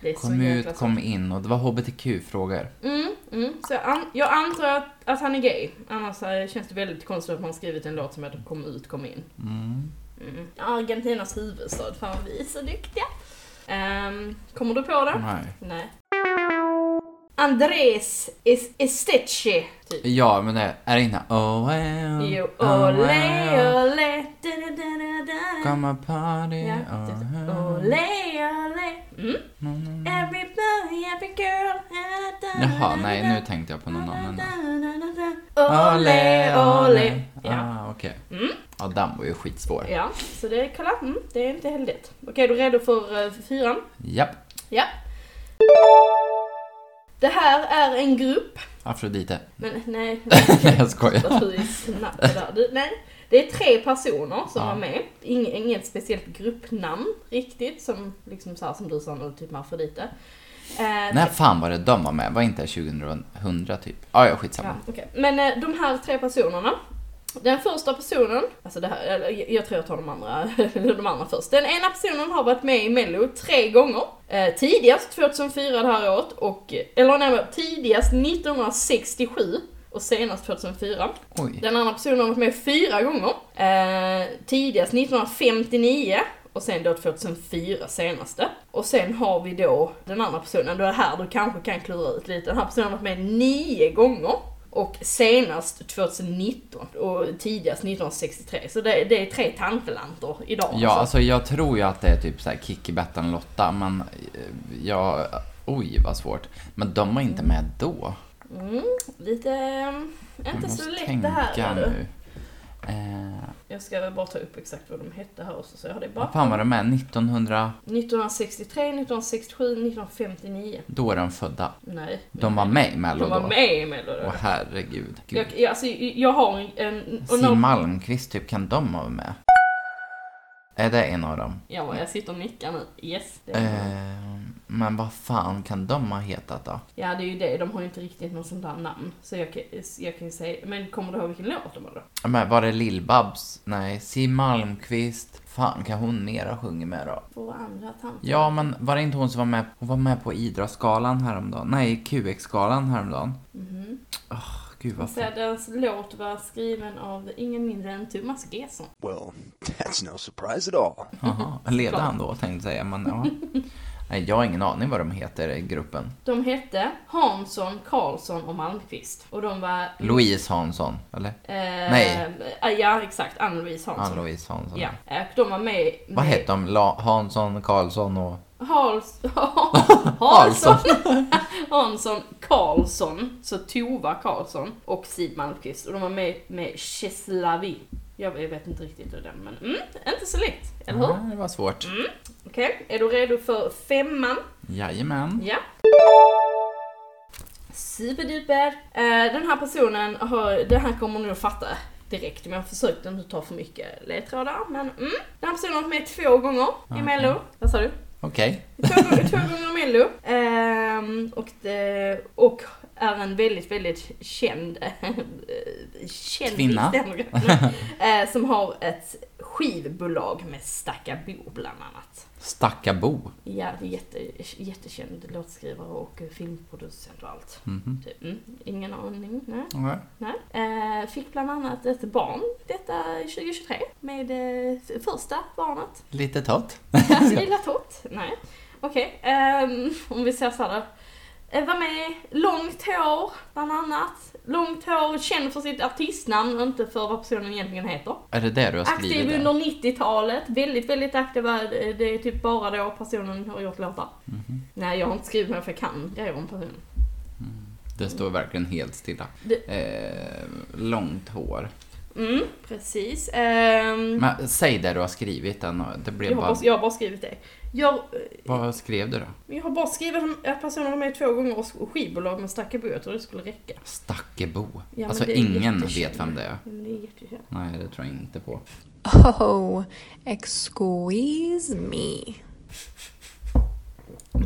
A: Det är så
B: Kom
A: jäkla
B: ut,
A: kom...
B: kom in och det var hbtq-frågor.
A: mm, mm. Så jag, an- jag antar att, att han är gay. Annars eh, känns det väldigt konstigt att man har skrivit en låt som heter Kom ut, kom in.
B: Mm.
A: Mm. Argentinas huvudstad. Fan vad vi är så duktiga. Ehm, kommer du på det?
B: Nej.
A: Nej. Andres es- Esteche, typ.
B: Ja, men det är det inte... Oh, well,
A: Jo,
B: oh,
A: ole,
B: well.
A: ole, da, da, da, da, da.
B: Come a party.
A: Ja, det-
B: oh, well.
A: Ole, ole. Mm.
B: Mm, mm.
A: Every boy, every girl. da, da, da,
B: Jaha,
A: da,
B: nej
A: da,
B: nu tänkte jag på någon
A: da,
B: annan. då.
A: da, da, da, da. Ole, ole. Ja.
B: Ah, okej.
A: Mm.
B: Ja, den var ju skitsvår.
A: ja, så det är kolla. Mm, det är inte helt lätt. Okej, är du redo för, eh, för fyran?
B: Japp.
A: Ja. Det här är en grupp.
B: Afrodite.
A: Men nej,
B: Nej, jag
A: Vad
B: skojar.
A: du är snabb där. Du, nej. Det är tre personer som
B: Ja.
A: var med. Ing, inget speciellt gruppnamn riktigt, som, liksom så här, som du sa nu, typ med Afrodite. Eh,
B: När fan var det de var med? Var inte det 2000 typ? Ah, ja,
A: ja,
B: skitsamma.
A: okej. Men eh, de här tre personerna. Den första personen, alltså det här, eller jag- jag tror jag tar de andra, de andra först. Den ena personen har varit med i Mello tre gånger. Eh, tidigast 2004 det här året, och, eller nej, tidigast 1967 och senast 2004.
B: Oj.
A: Den andra personen har varit med fyra gånger. Eh, tidigast 1959 och sen då 2004 senaste. Och sen har vi då den andra personen, då är det här du kanske kan klura ut lite. Den här personen har varit med nio gånger. Och senast 2019 och tidigast 1963. Så det, det är tre tantelanter idag.
B: Ja, alltså jag tror ju att det är typ så här Kikki, Bettan, Lotta, men eh, jag... Oj, vad svårt. Men de var inte med då.
A: Mm, lite... eh,
B: Jag
A: Inte
B: måste
A: så lätt det
B: tänka
A: här. är det.
B: nu. Eh,
A: Jag ska väl bara ta upp exakt vad de hette här också så jag har det
B: vad
A: bara.
B: fan var de med? 1900?
A: 1963, 1967, 1959.
B: Då är de födda.
A: Nej.
B: De var med i Mello
A: De var
B: då.
A: med i Mello
B: Åh
A: då.
B: herregud. Gud.
A: Jag, jag, alltså, jag har en... en och
B: Siw
A: någon,
B: Malmkvist, typ, kan de vara med? Är det en av dem?
A: ja, jag sitter och nickar nu. Yes. Det är,
B: Eh, men vad fan kan de ha hetat då?
A: Ja, det är ju det. De har ju inte riktigt något sånt där namn. Så jag, kan- jag kan ju säga... Men kommer du ihåg vilken låt de har då?
B: Men var det Lill-Babs? Nej, Siw Malmkvist. Fan, kan hon mera sjunga med då?
A: Våra andra tant.
B: Ja, men var det inte hon som var med? Hon var med på Idrottsgalan häromdagen. Nej, QX-galan häromdagen.
A: Mhm.
B: Åh, gud vad
A: Så
B: fan.
A: deras låt var skriven av ingen mindre än Thomas Gesson.
C: Well, that's no surprise at all.
B: Jaha, ledde han då tänkte jag säga, men ja. Nej, jag har ingen aning vad de heter i gruppen.
A: De hette Hansson, Karlsson och Malmqvist. Och de var...
B: Louise Hansson, eller?
A: Eh,
B: Nej.
A: eh, Ja, exakt. Ann-Louise Hansson.
B: Ann-Louise Hansson.
A: Ja. eh, Och de var med...
B: Vad
A: med-
B: hette de? La- Hansson, Karlsson och...
A: Hals, Halsson.
B: Halsson.
A: Hansson Karlsson, så Tova Karlsson och Siw Malmkvist. Och de var med med Cheslavi. Jag jag vet inte riktigt hur den, men mm, inte så lätt. Eller hur?
B: Ja, det var svårt.
A: Mm. Okej, är du redo för femman?
B: Jajamän.
A: Ja. Superduper. Eh, den här personen har, den här kommer ni att fatta direkt om jag försökte inte ta för mycket ledtrådar. Men mm. Den här personen har varit med två gånger i
B: Okej.
A: mello. Vad sa du?
B: Okej.
A: Två gånger, två gånger Mello. Ehm, och, det, och är en väldigt, väldigt känd... eh, känd
B: Kvinna.
A: stämmer. Nej. Eh, som har ett skivbolag med Stackabo bland annat.
B: Stackabo.
A: Ja, det är jätte, jättekänd låtskrivare och filmproducent och allt.
B: Mhm.
A: Typ. Mm, ingen aning. Nej,
B: Okej.
A: nej. Eh, fick bland annat ett barn detta 2023 med eh, f- första barnet.
B: Lite tott.
A: Alltså lilla tott? Nej. Okej, ehm, om vi säger såhär eh, var med. Långt hår, bland annat. Långt hår, känd för sitt artistnamn och inte för vad personen egentligen heter.
B: Är det det du har
A: Aktiv
B: skrivit?
A: under
B: där?
A: 90-talet, väldigt, väldigt aktiv. Eh, Det är typ bara då personen har gjort låtar.
B: Mhm.
A: Nej, jag har inte skrivit några för jag kan grejer om personen.
B: Det står verkligen helt stilla.
A: Det-
B: Eh, långt hår.
A: Mm, precis. Ehm,
B: Men säg det du har skrivit. Den, och- det blev
A: jag, har
B: bara,
A: bara, jag har bara skrivit det. Jag, eh,
B: Vad skrev du då?
A: jag har bara skrivit att personen var med två gånger och skivbolag med Stackebo. Jag trodde det skulle räcka.
B: Stackebo.
A: men
B: alltså
A: det är
B: ingen
A: jättekänd.
B: vet vem det är.
A: Men det är jättekänt.
B: Nej, det tror jag inte på.
D: Oh, excuse me.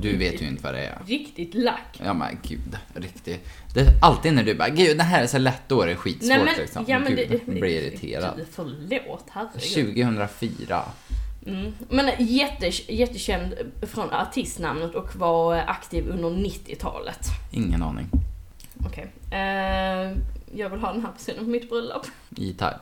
B: Du vet ju inte vad det är.
A: Riktigt lack.
B: Ja men gud, riktigt. Det är alltid när du bara gud det här är så lätt då är det skitsvårt
A: Nej, men-
B: liksom.
A: ja, men
B: gud,
A: det-
B: blir irriterad.
A: Gud, Förlåt, herregud.
B: 2004.
A: Mm. Men jätte, jättekänd från artistnamnet och var aktiv under 90-talet.
B: Ingen aning.
A: Okej. Eh, jag vill ha den här personen på mitt bröllop.
B: E-Type.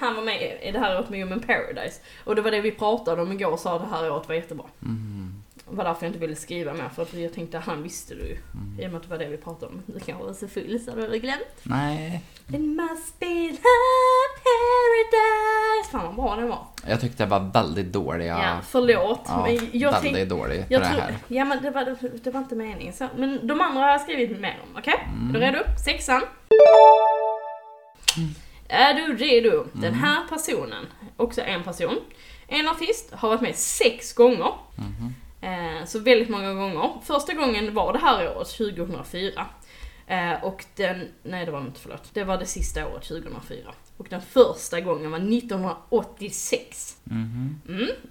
A: Han var med i det här året med Human Paradise. Och det var det vi pratade om igår och sa det här året var jättebra.
B: Mm.
A: Det var därför jag inte ville skriva mer för att jag tänkte han visste du ju.
B: Mm.
A: I och med att det var det vi pratade om. Du kanske var så full så du hade glömt.
B: Nej,
A: It must be love paradise. Fan vad bra den var.
B: jag tyckte det var väldigt dåliga...
A: Ja, förlåt.
B: Ja,
A: men jag
B: väldigt
A: tänk-
B: dålig på
A: jag
B: det
A: tror-
B: här.
A: Ja men det var, det var inte meningen så. Men de andra har jag skrivit mer om, okej?
B: Mm.
A: Är du redo? Sexan. Är du redo?
B: Mm.
A: Den här personen, också en person, en artist, har varit med sex gånger.
B: Mm-hmm.
A: Eh, så väldigt många gånger. Första gången var det här året, 2004. Eh, och den, nej det var inte, förlåt. Det var det sista året, 2004. Och den första gången var 1986. Mm,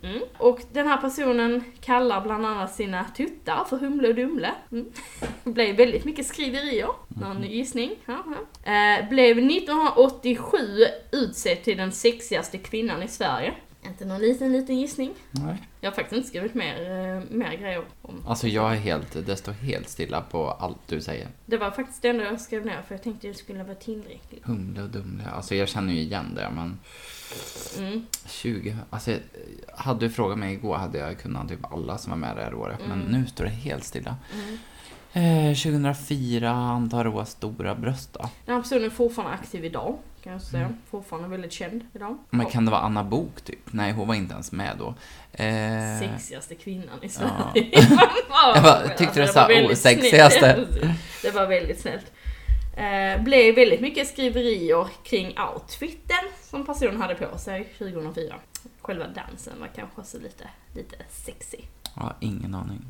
A: mm. Och den här personen kallar bland annat sina tuttar för Humle och Dumle. Mm. Det blev väldigt mycket skriverier. Någon gissning? Ja, ja. Eh, blev 1987 utsedd till den sexigaste kvinnan i Sverige. Inte någon liten, liten gissning.
B: Nej.
A: Jag har faktiskt inte skrivit mer, eh, mer grejer om.
B: Alltså jag är helt, det står helt stilla på allt du säger.
A: Det var faktiskt det enda jag skrev ner för jag tänkte det skulle vara tillräckligt.
B: Humle och Dumle, alltså jag känner ju igen det men...
A: Mm.
B: 20, alltså hade du frågat mig igår hade jag kunnat typ alla som var med det här året.
A: Mm.
B: Men nu står det helt stilla. Eh, 2004, antar Roa stora bröst då.
A: Den här personen är fortfarande aktiv idag, kan jag säga. Fortfarande väldigt känd idag.
B: Men
A: Och
B: kan det vara Anna Bok typ? Nej, hon var inte ens med då. Eh,
A: sexigaste kvinnan i
B: ja.
A: Sverige. Ja.
B: Jag bara tyckte det sa
A: alltså, var
B: "Oh,
A: väldigt
B: osexigaste.
A: snällt. Det var väldigt snällt. Eh, blev väldigt mycket skriverier kring outfiten som personen hade på sig 2004. Själva dansen var kanske också lite, lite sexy.
B: Ja, ingen aning.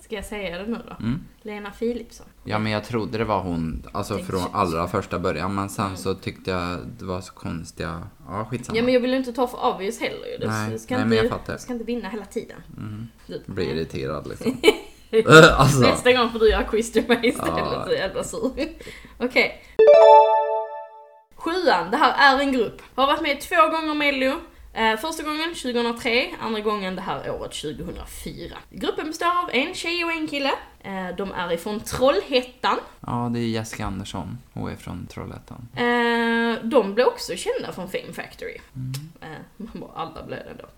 A: Ska jag säga det nu då?
B: Mm.
A: Lena Philipsson.
B: Ja, men jag trodde det var hon, alltså
A: Tänkte
B: från
A: så-
B: allra första början. Men sen så tyckte jag det var så konstiga, ja skitsamma.
A: Ja men jag vill ju inte ta för obvious heller ju. Du
B: Nej,
A: ska,
B: nej,
A: inte,
B: men jag fattar. Mm.
A: du ska inte vinna hela tiden. Du-
B: Blir irriterad liksom. Eh, alltså.
A: Nästa gång får du göra quiz till mig istället,
B: Ja.
A: så jävla sur. Okej. Sjuan, det här är en grupp. Har varit med två gånger Mello. Eh, första gången 2003, andra gången det här året 2004. Gruppen består av en tjej och en kille. Eh, de är ifrån Trollhättan.
B: Ja, det är Jessica Andersson. Hon är från Trollhättan.
A: Eh, de blev också kända från Fame Factory.
B: Mm.
A: Eh, man bara, alla blev det då.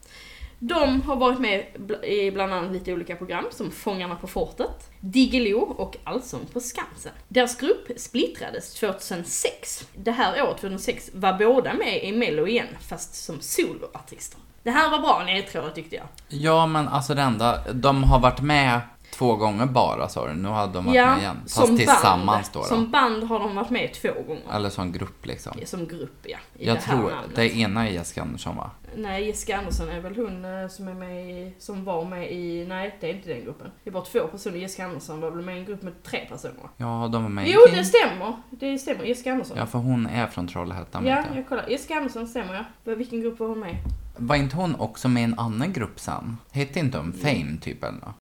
A: De har varit med bl- i bland annat lite olika program som Fångarna på fortet, Diggiloo och Allsång på Skansen. Deras grupp splittrades 2006. Det här året, 2006, var båda med i Mello igen, fast som soloartister. Det här var bra nedtråd tyckte jag.
B: Ja, men alltså det enda, de har varit med två gånger bara sa du. Nu har de varit med igen. Fast tillsammans
A: band,
B: då.
A: Som band har de varit med två gånger.
B: då. Eller som grupp liksom.
A: Som grupp ja. I
B: jag
A: det här
B: tror
A: namnet.
B: det ena är Jessica Andersson va?
A: Nej, Jessica Andersson är väl hon eh, som är med i, som var med i, nej det är inte den gruppen. Det är bara två personer, Jessica Andersson var väl med i en grupp med tre personer?
B: Ja, de var med i
A: Jo,
B: King.
A: det stämmer! Det stämmer, Jessica Andersson.
B: Ja, för hon är från Trollhättan.
A: Ja,
B: vet jag.
A: jag kollar. Jessica Andersson stämmer ja. Vad- Vilken grupp var hon med i?
B: Var inte hon också med i en annan grupp sen? Hette inte hon Fame typ eller nåt?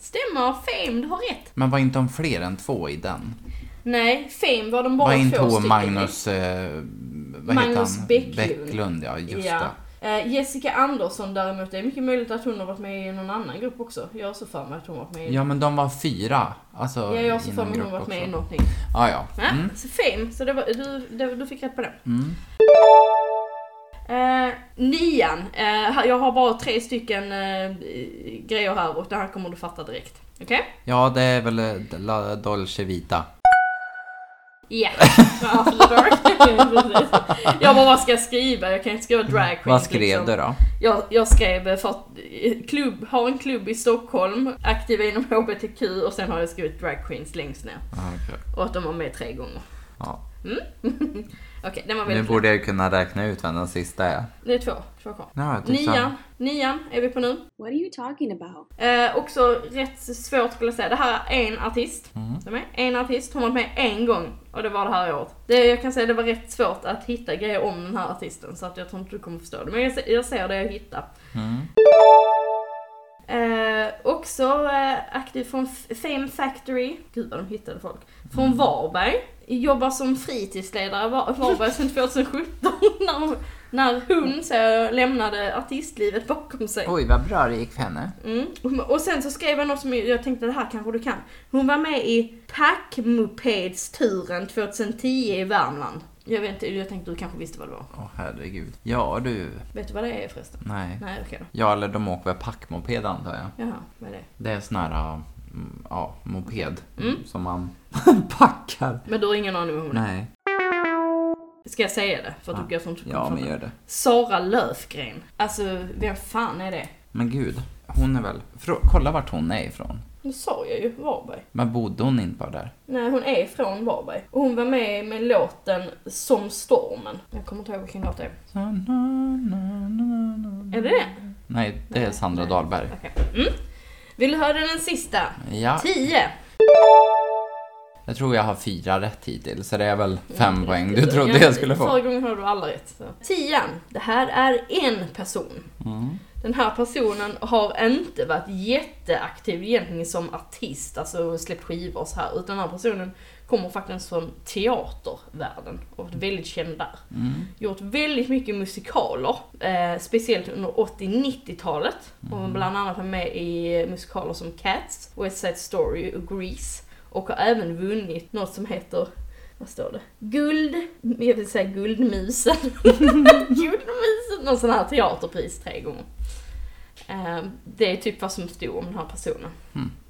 A: Stämmer! Fame, du har rätt!
B: Men var inte hon fler än två i den?
A: Nej, Fame var de bara
B: var inte
A: två
B: hon
A: stycken
B: Magnus... Eh, vad heter
A: Magnus
B: han?
A: Bäcklund.
B: Bäcklund, ja
A: i.
B: just
A: ja.
B: det.
A: Eh, Jessica Andersson däremot, det är mycket möjligt att hon har varit med i någon annan grupp också. Jag har så för mig att hon varit med i...
B: Ja men de var fyra. Alltså,
A: Ja, jag har så
B: i
A: för
B: någon
A: mig att hon varit
B: grupp
A: med i
B: också.
A: någonting.
B: Ja, ja.
A: Ah,
B: Mm.
A: Ja, så Fame, så det var, du, det, du fick rätt på det. Eh, nian. Eh, jag har bara tre stycken eh, grejer här och det här kommer du fatta direkt. Okej?
B: Ja, det är väl eh, La Dolce Vita.
A: Ja. After dark. Precis. jag bara, vad ska jag skriva? Jag kan inte skriva drag queen.
B: Vad skrev
A: liksom.
B: du då?
A: Jag, jag skrev eh, för att eh, klubb, har en klubb i Stockholm, aktiva inom HBTQ och sen har jag skrivit drag queens längst ner.
B: Ah, okej.
A: Och att de var med tre gånger.
B: Ja.
A: Mm. Okej, den var
B: Nu
A: väldigt lätt.
B: borde jag ju kunna räkna ut vem den sista är.
A: Det är två, två kvar.
B: Ja, jag tyckte typ så.
A: Nian, nian är vi på nu.
E: What are you talking about?
A: Eh, också rätt svårt skulle jag säga. Det här är en artist. Som är en artist. Hon har varit med en gång och det var det här året. Det, jag kan säga att det var rätt svårt att hitta grejer om den här artisten så att jag tror inte du kommer förstå det. Men jag, se- jag ser det jag hittar. Eh, också eh, aktiv från F- Fame Factory. Gud vad de hittade folk. Från Varberg. Jobbar som fritidsledare i Var- Varberg sedan 2017 när, när hon så, lämnade artistlivet bakom sig.
B: Oj, vad bra det gick för henne.
A: Mm. Och sen så skrev jag något som jag tänkte det här kanske du kan. Hon var med i Packmopedsturen 2010 i Värmland. Jag vet inte, jag tänkte du kanske visste vad det var.
B: Åh herregud. Ja du.
A: Vet du vad det är förresten?
B: Nej.
A: Nej, okej då.
B: Ja, eller de åker väl packmoped antar jag.
A: Jaha, vad är det?
B: Det är sån här, mm, ja, moped. Som man packar.
A: Men du har ingen aning om hon är?
B: Nej.
A: Ska jag säga det? För att du
B: Ja.
A: går som
B: Ja, men gör det.
A: Sara Löfgren. Alltså, vem fan är det?
B: Men gud, hon är väl... Frå- kolla vart hon är ifrån.
A: Nu sa jag ju Varberg.
B: Men bodde hon inte bara där?
A: Nej, hon är från Varberg. Och hon var med med låten Som stormen. Jag kommer inte ihåg vilken låt det är.
B: Så, na, na, na, na.
A: Är det den?
B: Nej, det är Sandra Dahlberg.
A: Okej. Mm. Vill du höra den sista?
B: Ja,
A: Tio!
B: jag tror jag har fyra rätt hittills, så det är väl fem poäng du trodde Mm. jag skulle
A: Förra
B: få.
A: gången hörde du alla rätt. Så. Tian. Det här är en person.
B: Mm.
A: Den här personen har inte varit jätteaktiv egentligen som artist, alltså släppt skivor och så här. Utan den här personen kommer faktiskt från teatervärlden och varit väldigt känd där.
B: Mm.
A: Gjort väldigt mycket musikaler, eh, speciellt under 80-90-talet.
B: Mm.
A: Och bland annat var med i musikaler som Cats, West Side Story och Grease. Och har även vunnit något som heter vad står det? Guld, jag vill säga guldmusen. guldmusen, någon sån här teaterpris tre gånger. Eh, Det är typ vad som stod om den här personen.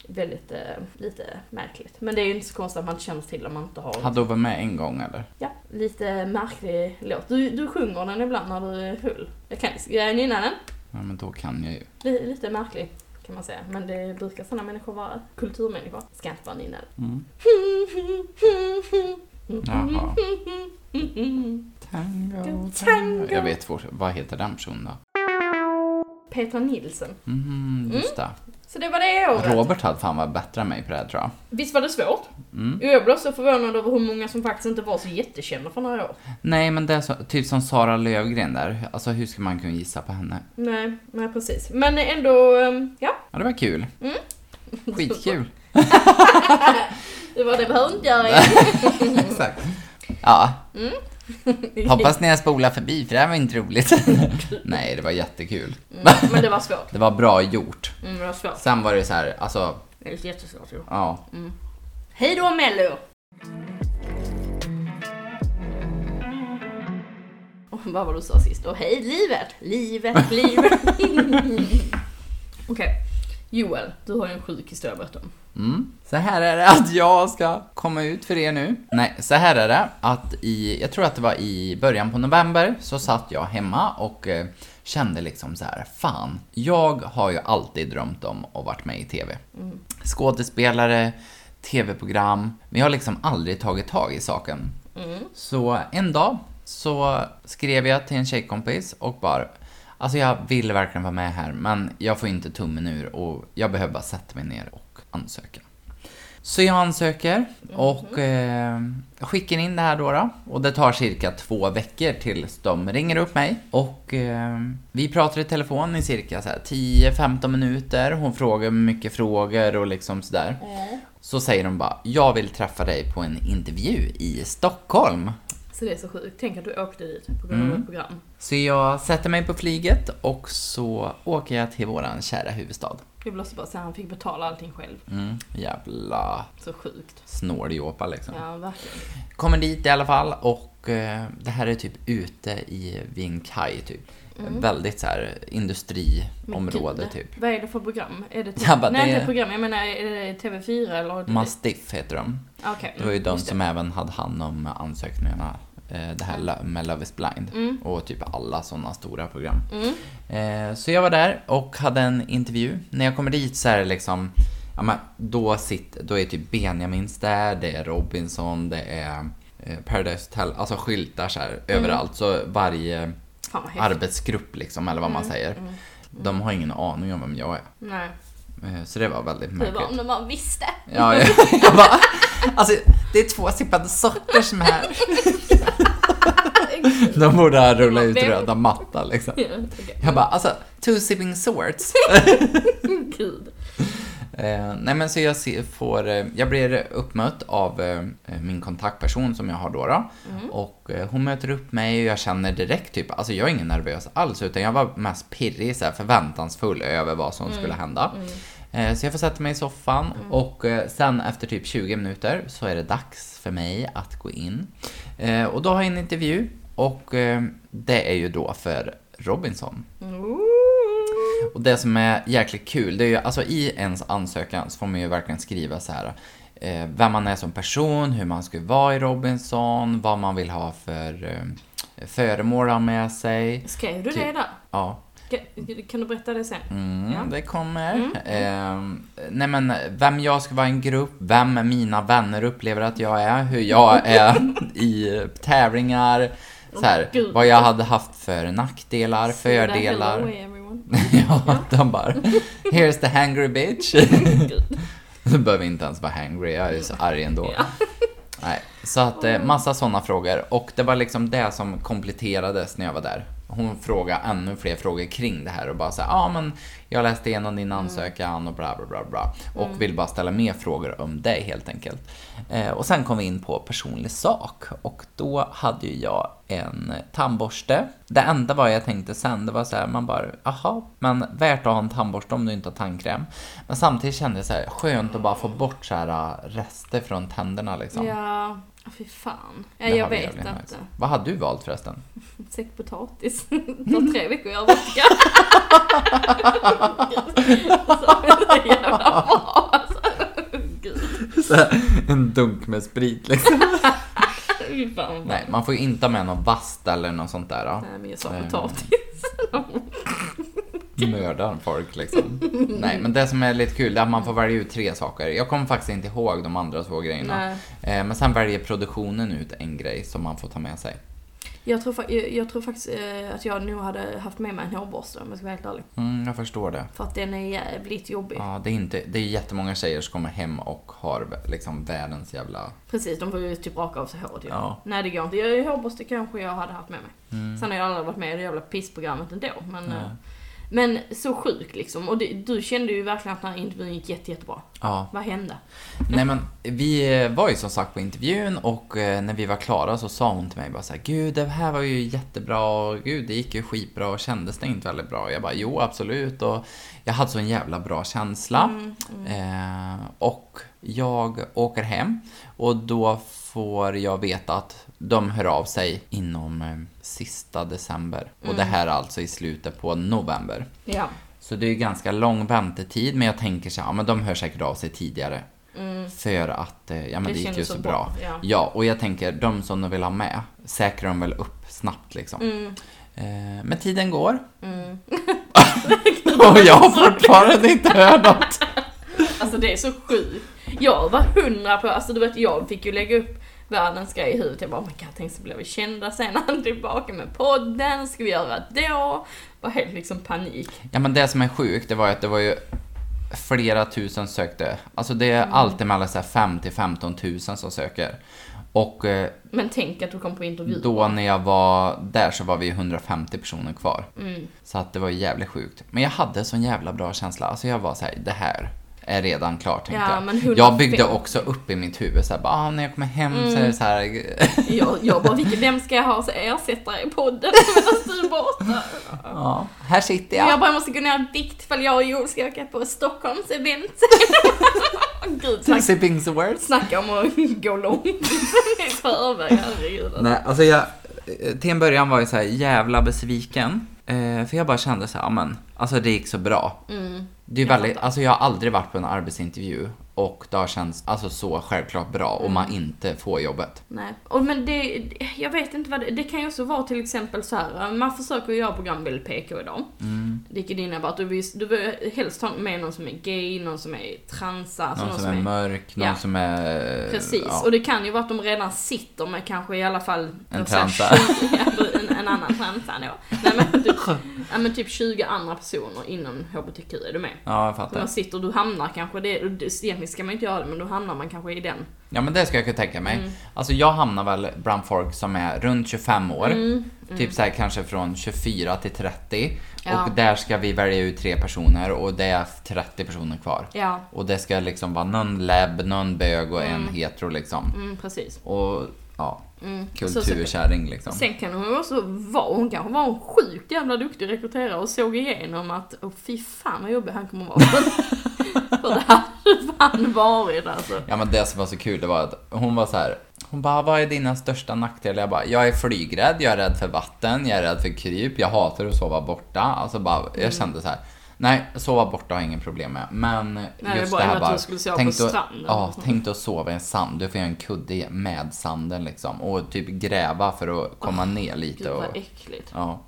A: Väldigt eh, lite märkligt. Men det är ju inte så konstigt att man inte känner till om man inte har...
B: Hade hon varit med en gång eller?
A: Ja, lite märklig låt. Du, du sjunger den ibland när du är full. Jag kan jag nynna den.
B: Ja, men då kan jag ju.
A: Li- Lite märklig kan man säga. Men det brukar sådana människor vara. Kulturmänniskor. Ska inte vara nynna den.
B: Jaha. Tango,
A: Tango.
B: Mm, tango. Jag vet fort- vad heter den personen då?
A: Petra Nilsson.
B: Mm, just det.
A: Så det var det året.
B: Robert hade fan varit bättre än mig på det här tror jag.
A: Visst var det svårt? Mm. Jag blev så förvånad över hur många som faktiskt inte var så jättekända för några år.
B: Nej, men det är så, typ som Sara Lövgren där. Alltså hur ska man kunna gissa på henne?
A: Nej, nej precis. Men ändå, ehm, ja.
B: Ja, det var kul. Skitkul.
A: Det var det behöver inte göra.
B: Exakt. Ja, hoppas ni har spolat förbi för det här var inte roligt. Nej, det var jättekul.
A: Mm, Men det var svårt.
B: Det var bra gjort.
A: Mm, det var svårt.
B: Sen var det så här, alltså,
A: Det är jättesvårt. ju.
B: ja.
A: Hej då Mello! Och vad var det du sa sist? Och hej livet! Livet, livet! Okej. Joel, du har ju en sjuk historia att berätta om.
B: Mm. Så här är det att jag ska komma ut för er nu. Nej, så här är det att i, jag tror att det var i början på november, så satt jag hemma och eh, kände liksom så här, fan, jag har ju alltid drömt om att varit med i TV. Skådespelare, TV-program, men jag har liksom aldrig tagit tag i saken. Så en dag så skrev jag till en tjejkompis och bara Alltså jag vill verkligen vara med här men jag får inte tummen ur och jag behöver bara sätta mig ner och ansöka. Så jag ansöker och eh, skickar in det här då, då. Och det tar cirka två veckor tills de ringer upp mig. Och eh, vi pratar i telefon i cirka så här 10-15 minuter. Hon frågar mycket frågor och liksom sådär. Så säger de bara, jag vill träffa dig på en intervju i Stockholm. Mm.
A: Så det är så sjukt. Tänk att du åkte dit på grund av ett program.
B: Så jag sätter mig på flyget och så åker jag till våran kära huvudstad.
A: Jag vill också bara säga att han fick betala allting själv.
B: Mm, jävla
A: Så sjukt.
B: snåljåpa liksom.
A: Ja, verkligen.
B: Kommer dit i alla fall och eh, det här är typ ute i Ving Kai typ.
A: Mm.
B: Väldigt så här
A: Men
B: industriområde
A: gud,
B: typ.
A: Vad är det för program? Är det
B: Jag bara,
A: Nej,
B: det-
A: inte program. Jag menar, är det TV4 eller?
B: Mastiff heter de.
A: Okej. mm,
B: Det var ju de
A: Just det.
B: som även hade hand om ansökningarna. eh, Det här lo- med Love is blind
A: Mm.
B: och typ alla sådana stora program. Eh, Så jag var där och hade en intervju. När jag kommer dit så är det liksom, ja, men då, sitter, då är typ Benjamins där, det är Robinson, det är eh, Paradise Hotel, alltså skyltar så här överallt. Så varje
A: Fan vad Mm. häftigt. Mm,
B: arbetsgrupp liksom, eller vad man säger. De har ingen aning om vem jag är.
A: Nej.
B: Eh, Så det var väldigt
A: Det
B: märkligt.
A: var om de bara visste.
B: Ja, jag, jag bara, alltså det är två sippade socker som är här. De borde ha rullat ut röda matta liksom.
A: Ja, okej.
B: Jag bara, alltså two sipping swords.
A: Gud.
B: Eh, nej men så jag se- får, eh, jag blir uppmött av eh, min kontaktperson som jag har då. då. Och eh, hon möter upp mig och jag känner direkt typ, alltså jag är ingen nervös alls utan jag var mest pirrig, så här, förväntansfull över vad som skulle hända.
A: Mm.
B: Eh, Så jag får sätta mig i soffan och eh, sen efter typ 20 minuter så är det dags för mig att gå in. Eh, Och då har jag en intervju och eh, det är ju då för Robinson. Och det som är jäkligt kul, det är ju alltså i ens ansökan så får man ju verkligen skriva så här eh, vem man är som person, hur man skulle vara i Robinson, vad man vill ha för eh, föremål att ha med sig.
A: Skrev du
B: Typ.
A: det där?
B: Ja,
A: Kan- Kan du berätta det sen?
B: Mm,
A: Ja. mm.
B: det kommer. Eh, nej men, vem jag ska vara i en grupp, vem mina vänner upplever att jag är, hur jag är i tävlingar, så här,
A: Gud.
B: vad jag hade haft för nackdelar, fördelar.
A: Hello everyone.
B: ja, de bara “Here's the hangry bitch”. Du behöver inte ens vara hangry, jag är ju så arg ändå.
A: Ja.
B: Nej, så att eh, massa sådana frågor och det var liksom det som kompletterades när jag var där. Hon frågade ännu fler frågor kring det här och bara såhär, ja ah, men jag läste igenom din ansökan och bla bla bla bla. Och vill bara ställa mer frågor om dig helt enkelt. Eh, och sen kom vi in på personlig sak och då hade ju jag en tandborste. Det enda vad jag tänkte sen, det var så här, man bara, aha, men värt att ha en tandborste om du inte har tandkräm. Men samtidigt kände jag så här, skönt att bara få bort så här äh, rester från tänderna liksom.
A: Ja, ah, fy fan. Ja,
B: Det här
A: jag
B: var
A: vet
B: jävligt
A: inte.
B: nice. Vad hade du valt förresten?
A: Säck potatis. Det tar tre veckor att göra vodka. Så det är jävla bra alltså. Gud.
B: en dunk med sprit liksom.
A: Fy fan.
B: Nej, man får ju inte ha med någon vast eller något sånt där. ja.
A: Nej men jag sa
B: Eh,
A: potatis.
B: Mm. Mördar folk liksom. Nej, men det som är lite kul är att man får välja ut tre saker. Jag kommer faktiskt inte ihåg de andra två grejerna.
A: Nej.
B: Eh, Men sen väljer produktionen ut en grej som man får ta med sig.
A: Jag tror, fa- jag, jag tror faktiskt eh, att jag nog hade haft med mig en hårborste om jag ska vara helt ärlig.
B: Mm, jag förstår det.
A: För att den är jävligt jobbig.
B: Ja, det är, inte, det är jättemånga tjejer som kommer hem och har liksom världens jävla...
A: Precis, de får ju typ raka av sig håret ju.
B: Ja. Mm.
A: Nej det går inte. Jag, hårborste kanske jag hade haft med mig. Sen har jag aldrig varit med i det jävla pissprogrammet ändå. Men, eh, men så sjuk liksom. Och det, du kände ju verkligen att den här intervjun gick jätte, jättebra.
B: Ja,
A: Vad hände?
B: Nej men vi eh, var ju som sagt på intervjun och eh, när vi var klara så sa hon till mig bara så här, Gud det här var ju jättebra, och gud det gick ju skitbra och kändes det inte väldigt bra? Och Jag bara jo absolut och jag hade så en jävla bra känsla. Eh, och jag åker hem och då får jag veta att de hör av sig inom eh, sista december. Och det här är alltså i slutet på november.
A: Ja.
B: Så det är ju ganska lång väntetid, men jag tänker så här, ja, men de hör säkert av sig tidigare. För att, eh, ja
A: Mm.
B: men det,
A: Det
B: gick ju
A: kändes
B: så
A: så
B: bra.
A: bra, ja.
B: och jag tänker, de som de vill ha med, säkrar de väl upp snabbt liksom.
A: Mm,
B: Eh, men tiden går. och jag har fortfarande inte hört något.
A: Alltså det är så sjukt. Jag var hundra på, alltså du vet jag fick ju lägga upp världens grej i huvudet. Jag bara, oh my god, tänk så blir vi kända sen när han är tillbaka med podden, ska vi göra då? Bara helt liksom panik.
B: Ja men det som är sjukt, det var ju att det var ju flera tusen sökte. Alltså det är alltid mellan så här 5 till 15 tusen som söker. Och eh,
A: Men tänk att du kom på intervju.
B: Då när jag var där så var vi 150 personer
A: Mm.
B: kvar. Så att det var jävligt sjukt. Men jag hade sån jävla bra känsla. Alltså jag var så här, det här är redan klar tänkte
A: Ja,
B: jag.
A: men 105.
B: Jag byggde också upp i mitt huvud såhär, bara, ah, när jag kommer hem så
A: Mm.
B: är det såhär.
A: Jag, jag bara, vilken, vem ska jag ha som ersättare i podden medan du är borta?
B: ja, här sitter jag.
A: Jag bara, jag måste gå ner i vikt för jag och Joel ska åka på Stockholms event. Gud, snack,
B: Tuxie Pings Awards.
A: snacka om att gå långt i förväg, herregud.
B: Nej, alltså jag, eh, till en början var jag så här jävla besviken. Eh, för jag bara kände så här, "Ja, men alltså det gick så bra.
A: Mm.
B: Det är väldigt, alltså jag har aldrig varit på en arbetsintervju och det har känts alltså, så självklart bra om man
A: Mm.
B: inte får jobbet.
A: Nej. Och men det, jag vet inte vad det, det kan ju också vara till exempel så här. eh, man försöker ju göra programbild PK idag.
B: Mm.
A: Vilket innebär att du vill, du vill helst ha med någon som är gay, någon som är transa, alltså
B: Någon, som är mörk, någon
A: ja.
B: som är...
A: Precis,
B: ja.
A: och det kan ju vara att de redan sitter med kanske i alla fall någon
B: transa.
A: sån här 20 ja, en, en annan transa då. Nej men, typ, ja, men typ 20 andra personer inom HBTQ, är du med?
B: Ja, jag
A: Så man
B: fattar.
A: sitter, du hamnar kanske, det, och det- egentligen ska man inte göra det, men då hamnar man kanske i den.
B: Ja, men det ska jag kunna tänka mig.
A: Mm.
B: Alltså jag hamnar väl bland folk som är runt 25 år.
A: Mm.
B: Typ så här kanske från 24 till 30.
A: Ja.
B: Och där ska vi välja ut tre personer och det är 30 personer kvar.
A: Ja,
B: Och det ska liksom vara någon lebb, någon bög och en hetero liksom.
A: mm, precis.
B: Och ja,
A: Mm. Så- så-
B: kulturkärring liksom.
A: Sen kan hon ju också vara, hon kanske var en sjukt jävla duktig rekryterare och såg igenom att, åh fy fan vad jobbig han kommer vara. För det hade fan varit alltså.
B: Ja men det som var så kul det var att hon var så här. Hon bara, vad är dina största nackdelar? Jag bara, jag är flygrädd, jag är rädd för vatten, jag är rädd för kryp, jag hatar att sova borta. Alltså bara,
A: Mm.
B: jag kände så här. Nej, sova borta har jag ingen problem med. Men
A: det
B: just
A: var
B: det
A: ju
B: här
A: att
B: bara,
A: du skulle sova
B: tänk
A: på
B: då-
A: stranden.
B: Ja, tänk dig att sova i en sand. Du får göra en kudde med sanden liksom. Och typ gräva för att komma ner
A: Gud
B: lite. Och,
A: vad äckligt.
B: ja.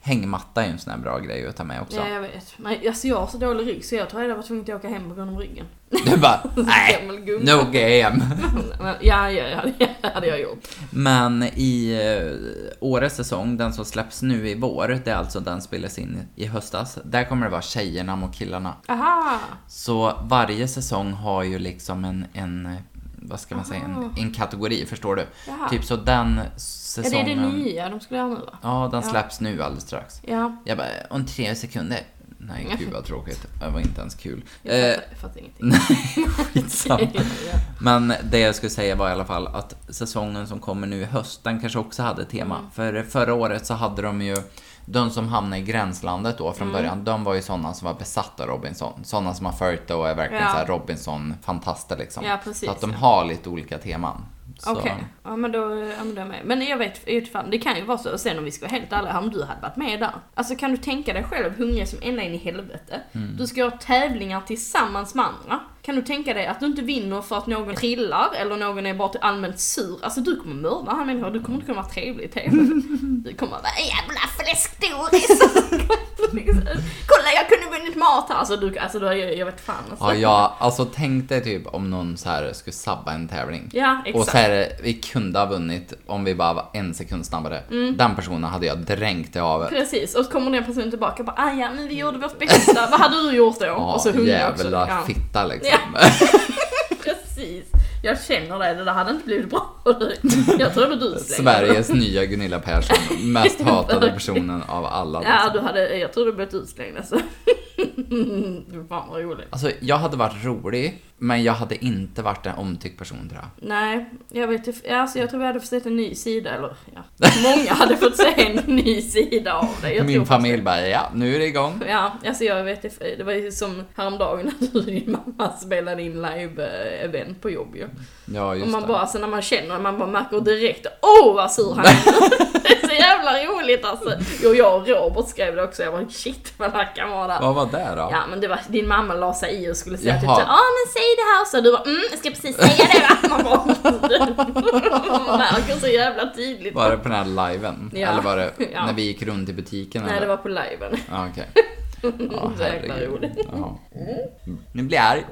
B: Hängmatta är ju en sån här bra grej att ta med också.
A: Ja jag vet. Men alltså jag har så dålig rygg så jag tror jag var tvungen att åka hem på grund av ryggen.
B: Du bara, nej,
A: Gammal gumma.
B: no game.
A: Men, ja, ja, ja, det hade jag gjort.
B: Men i eh, årets säsong, den som släpps nu i vår, det är alltså den spelas in i höstas. Där kommer det vara tjejerna mot killarna.
A: Aha!
B: Så varje säsong har ju liksom en, en eh, vad ska man säga, en, en kategori, förstår du?
A: Jaha.
B: Typ så den
A: Ja, det
B: säsongen...
A: Ah. är det nya de skulle göra nu va?
B: Ja, den släpps nu alldeles strax.
A: Ja.
B: Jag bara, om tre sekunder. Nej, gud vad tråkigt. Det var inte ens kul.
A: Jag
B: Eh,
A: fattar, jag fattar ingenting.
B: Nej, skitsamma.
A: Ja, ja.
B: Men det jag skulle säga var i alla fall att säsongen som kommer nu i höst, den kanske också hade tema.
A: Mm.
B: För förra året så hade de ju, de som hamnade i gränslandet då
A: Mm.
B: från början, de var ju sådana som var besatta av Robinson. Sådana som har följt det och är verkligen
A: Ja.
B: så här Robinson-fantaster liksom.
A: Ja, precis.
B: Så att de har lite olika teman. Så-
A: Okej, ja men då eh, använder jag mig. Men jag vet i ett fall, det kan ju vara så. Och sen om vi ska vara helt ärliga, om du hade varit med där. Alltså kan du tänka dig själv hungrig som ända in i helvete.
B: Mm.
A: Du ska ha tävlingar tillsammans med andra. Kan du tänka dig att du inte vinner för att någon trillar eller någon är bara till allmänt sur. Alltså du kommer mörda han människor, du kommer inte kunna vara trevlig i TV. Du kommer vara en jävla fläskdoris. Kolla jag kunde vunnit mat här. Alltså du, alltså, du jag, jag vet fan. Alltså.
B: Ja, jag, alltså tänk dig typ om någon så här skulle sabba en tävling.
A: Ja,
B: Och
A: exakt.
B: så här, vi kunde ha vunnit om vi bara var en sekund snabbare. Den personen hade jag dränkt i havet.
A: Mm. Precis, och så kommer den personen tillbaka och bara "Aj, ja, men vi gjorde vårt bästa, vad hade du gjort då?
B: Mm. Ja,
A: och så hungrig också.
B: jävla
A: Ja,
B: fitta liksom.
A: precis. Jag känner det, det där hade inte blivit bra. Jag tror det var du slängde.
B: Sveriges nya Gunilla Persson, mest hatade personen av alla.
A: Ja,
B: liksom.
A: du hade, jag tror du blivit utslängd alltså. Det var fan vad roligt.
B: Alltså, jag hade varit rolig, men jag hade inte varit en omtyckt person tror jag.
A: Nej, jag vet inte, alltså jag tror vi hade fått se en ny sida, eller ja. Många hade fått se en ny sida av det. Jag tror
B: Min familj bara, ja, nu är det igång.
A: Ja, alltså jag vet inte, det var ju som häromdagen när du och din mamma spelade in live-event på jobb ju.
B: Ja,
A: Och
B: just
A: man
B: det.
A: bara, alltså när man känner, man bara märker direkt, åh vad sur han är! Det är så jävla roligt alltså! Jo, jag och Robert skrev det också, jag bara shit vad det kan vara där.
B: Vad var det då?
A: Ja men det var, din mamma la sig i och skulle säga typ
B: Jaha.
A: såhär, ja men säg det här så du bara, mm jag ska precis säga det va? Man bara, man märker så jävla tydligt.
B: Var det på den här liven?
A: Ja.
B: Eller var det
A: Ja.
B: när vi gick runt i butiken?
A: Nej
B: eller?
A: det var på liven.
B: Ja, okej. Ja,
A: Så jäkla
B: herregud.
A: roligt.
B: Ja. Nu blir jag arg.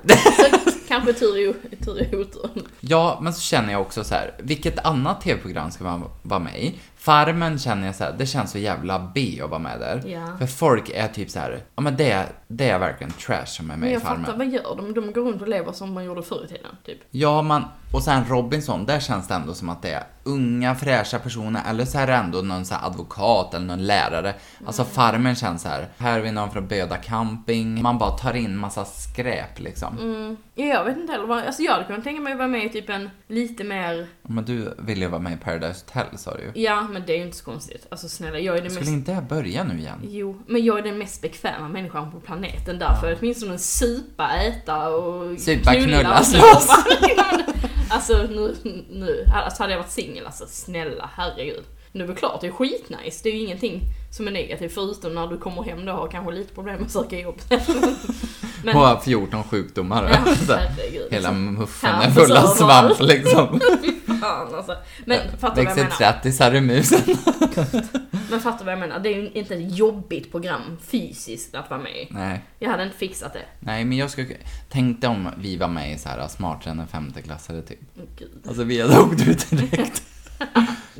A: Kanske tur i o- tur i oturen.
B: Ja, men så känner jag också så här. Vilket annat tv-program ska man vara med i? Farmen känner jag så här, det känns så jävla B att vara med där.
A: Ja.
B: För folk är typ så här, ja men det, det är verkligen trash som är med
A: Men jag
B: i Farmen.
A: fattar, vad gör de? De går runt och lever som man gjorde förr i tiden, typ.
B: Ja, man, och sen Robinson, där känns det ändå som att det är unga fräscha personer eller så är det ändå någon så här advokat eller någon lärare. Alltså
A: Mm.
B: farmen känns så här, här är vi någon från Böda camping. Man bara tar in massa skräp liksom.
A: Mm. Ja, Jag vet inte heller, vad- alltså jag hade kunnat tänka mig att vara med i typ en lite mer,
B: Men du vill ju vara med i Paradise Hotel sa du ju.
A: ja men det är ju inte så konstigt. Alltså snälla, jag är den
B: Skulle
A: mest,
B: inte jag börja nu igen?
A: jo, men jag är den mest bekväma människan på planeten därför åtminstone supa, äta och
B: Supa, knulla,
A: och
B: slåss.
A: sova. alltså nu, nu, alltså hade jag varit singel alltså snälla herregud. Nu är det klart, det är skitnice, det är ju ingenting som är negativt förutom när du kommer hem då och har kanske lite problem med att söka jobb. men,
B: På 14 sjukdomar.
A: ja,
B: Så här,
A: herregud.
B: Hela muffen
A: Ja,
B: är full av
A: så-
B: svamp liksom.
A: Fan alltså. Men fattar du vad jag
B: Växer
A: menar?
B: trattisar i musen.
A: Men fattar du vad jag menar? Det är ju inte ett jobbigt program fysiskt att vara med i.
B: Nej.
A: Jag hade inte fixat det.
B: Nej, men jag skulle... Tänk dig om vi var med i så här smartare än femteklassare typ.
A: Åh, Gud.
B: Alltså vi hade åkt ut direkt.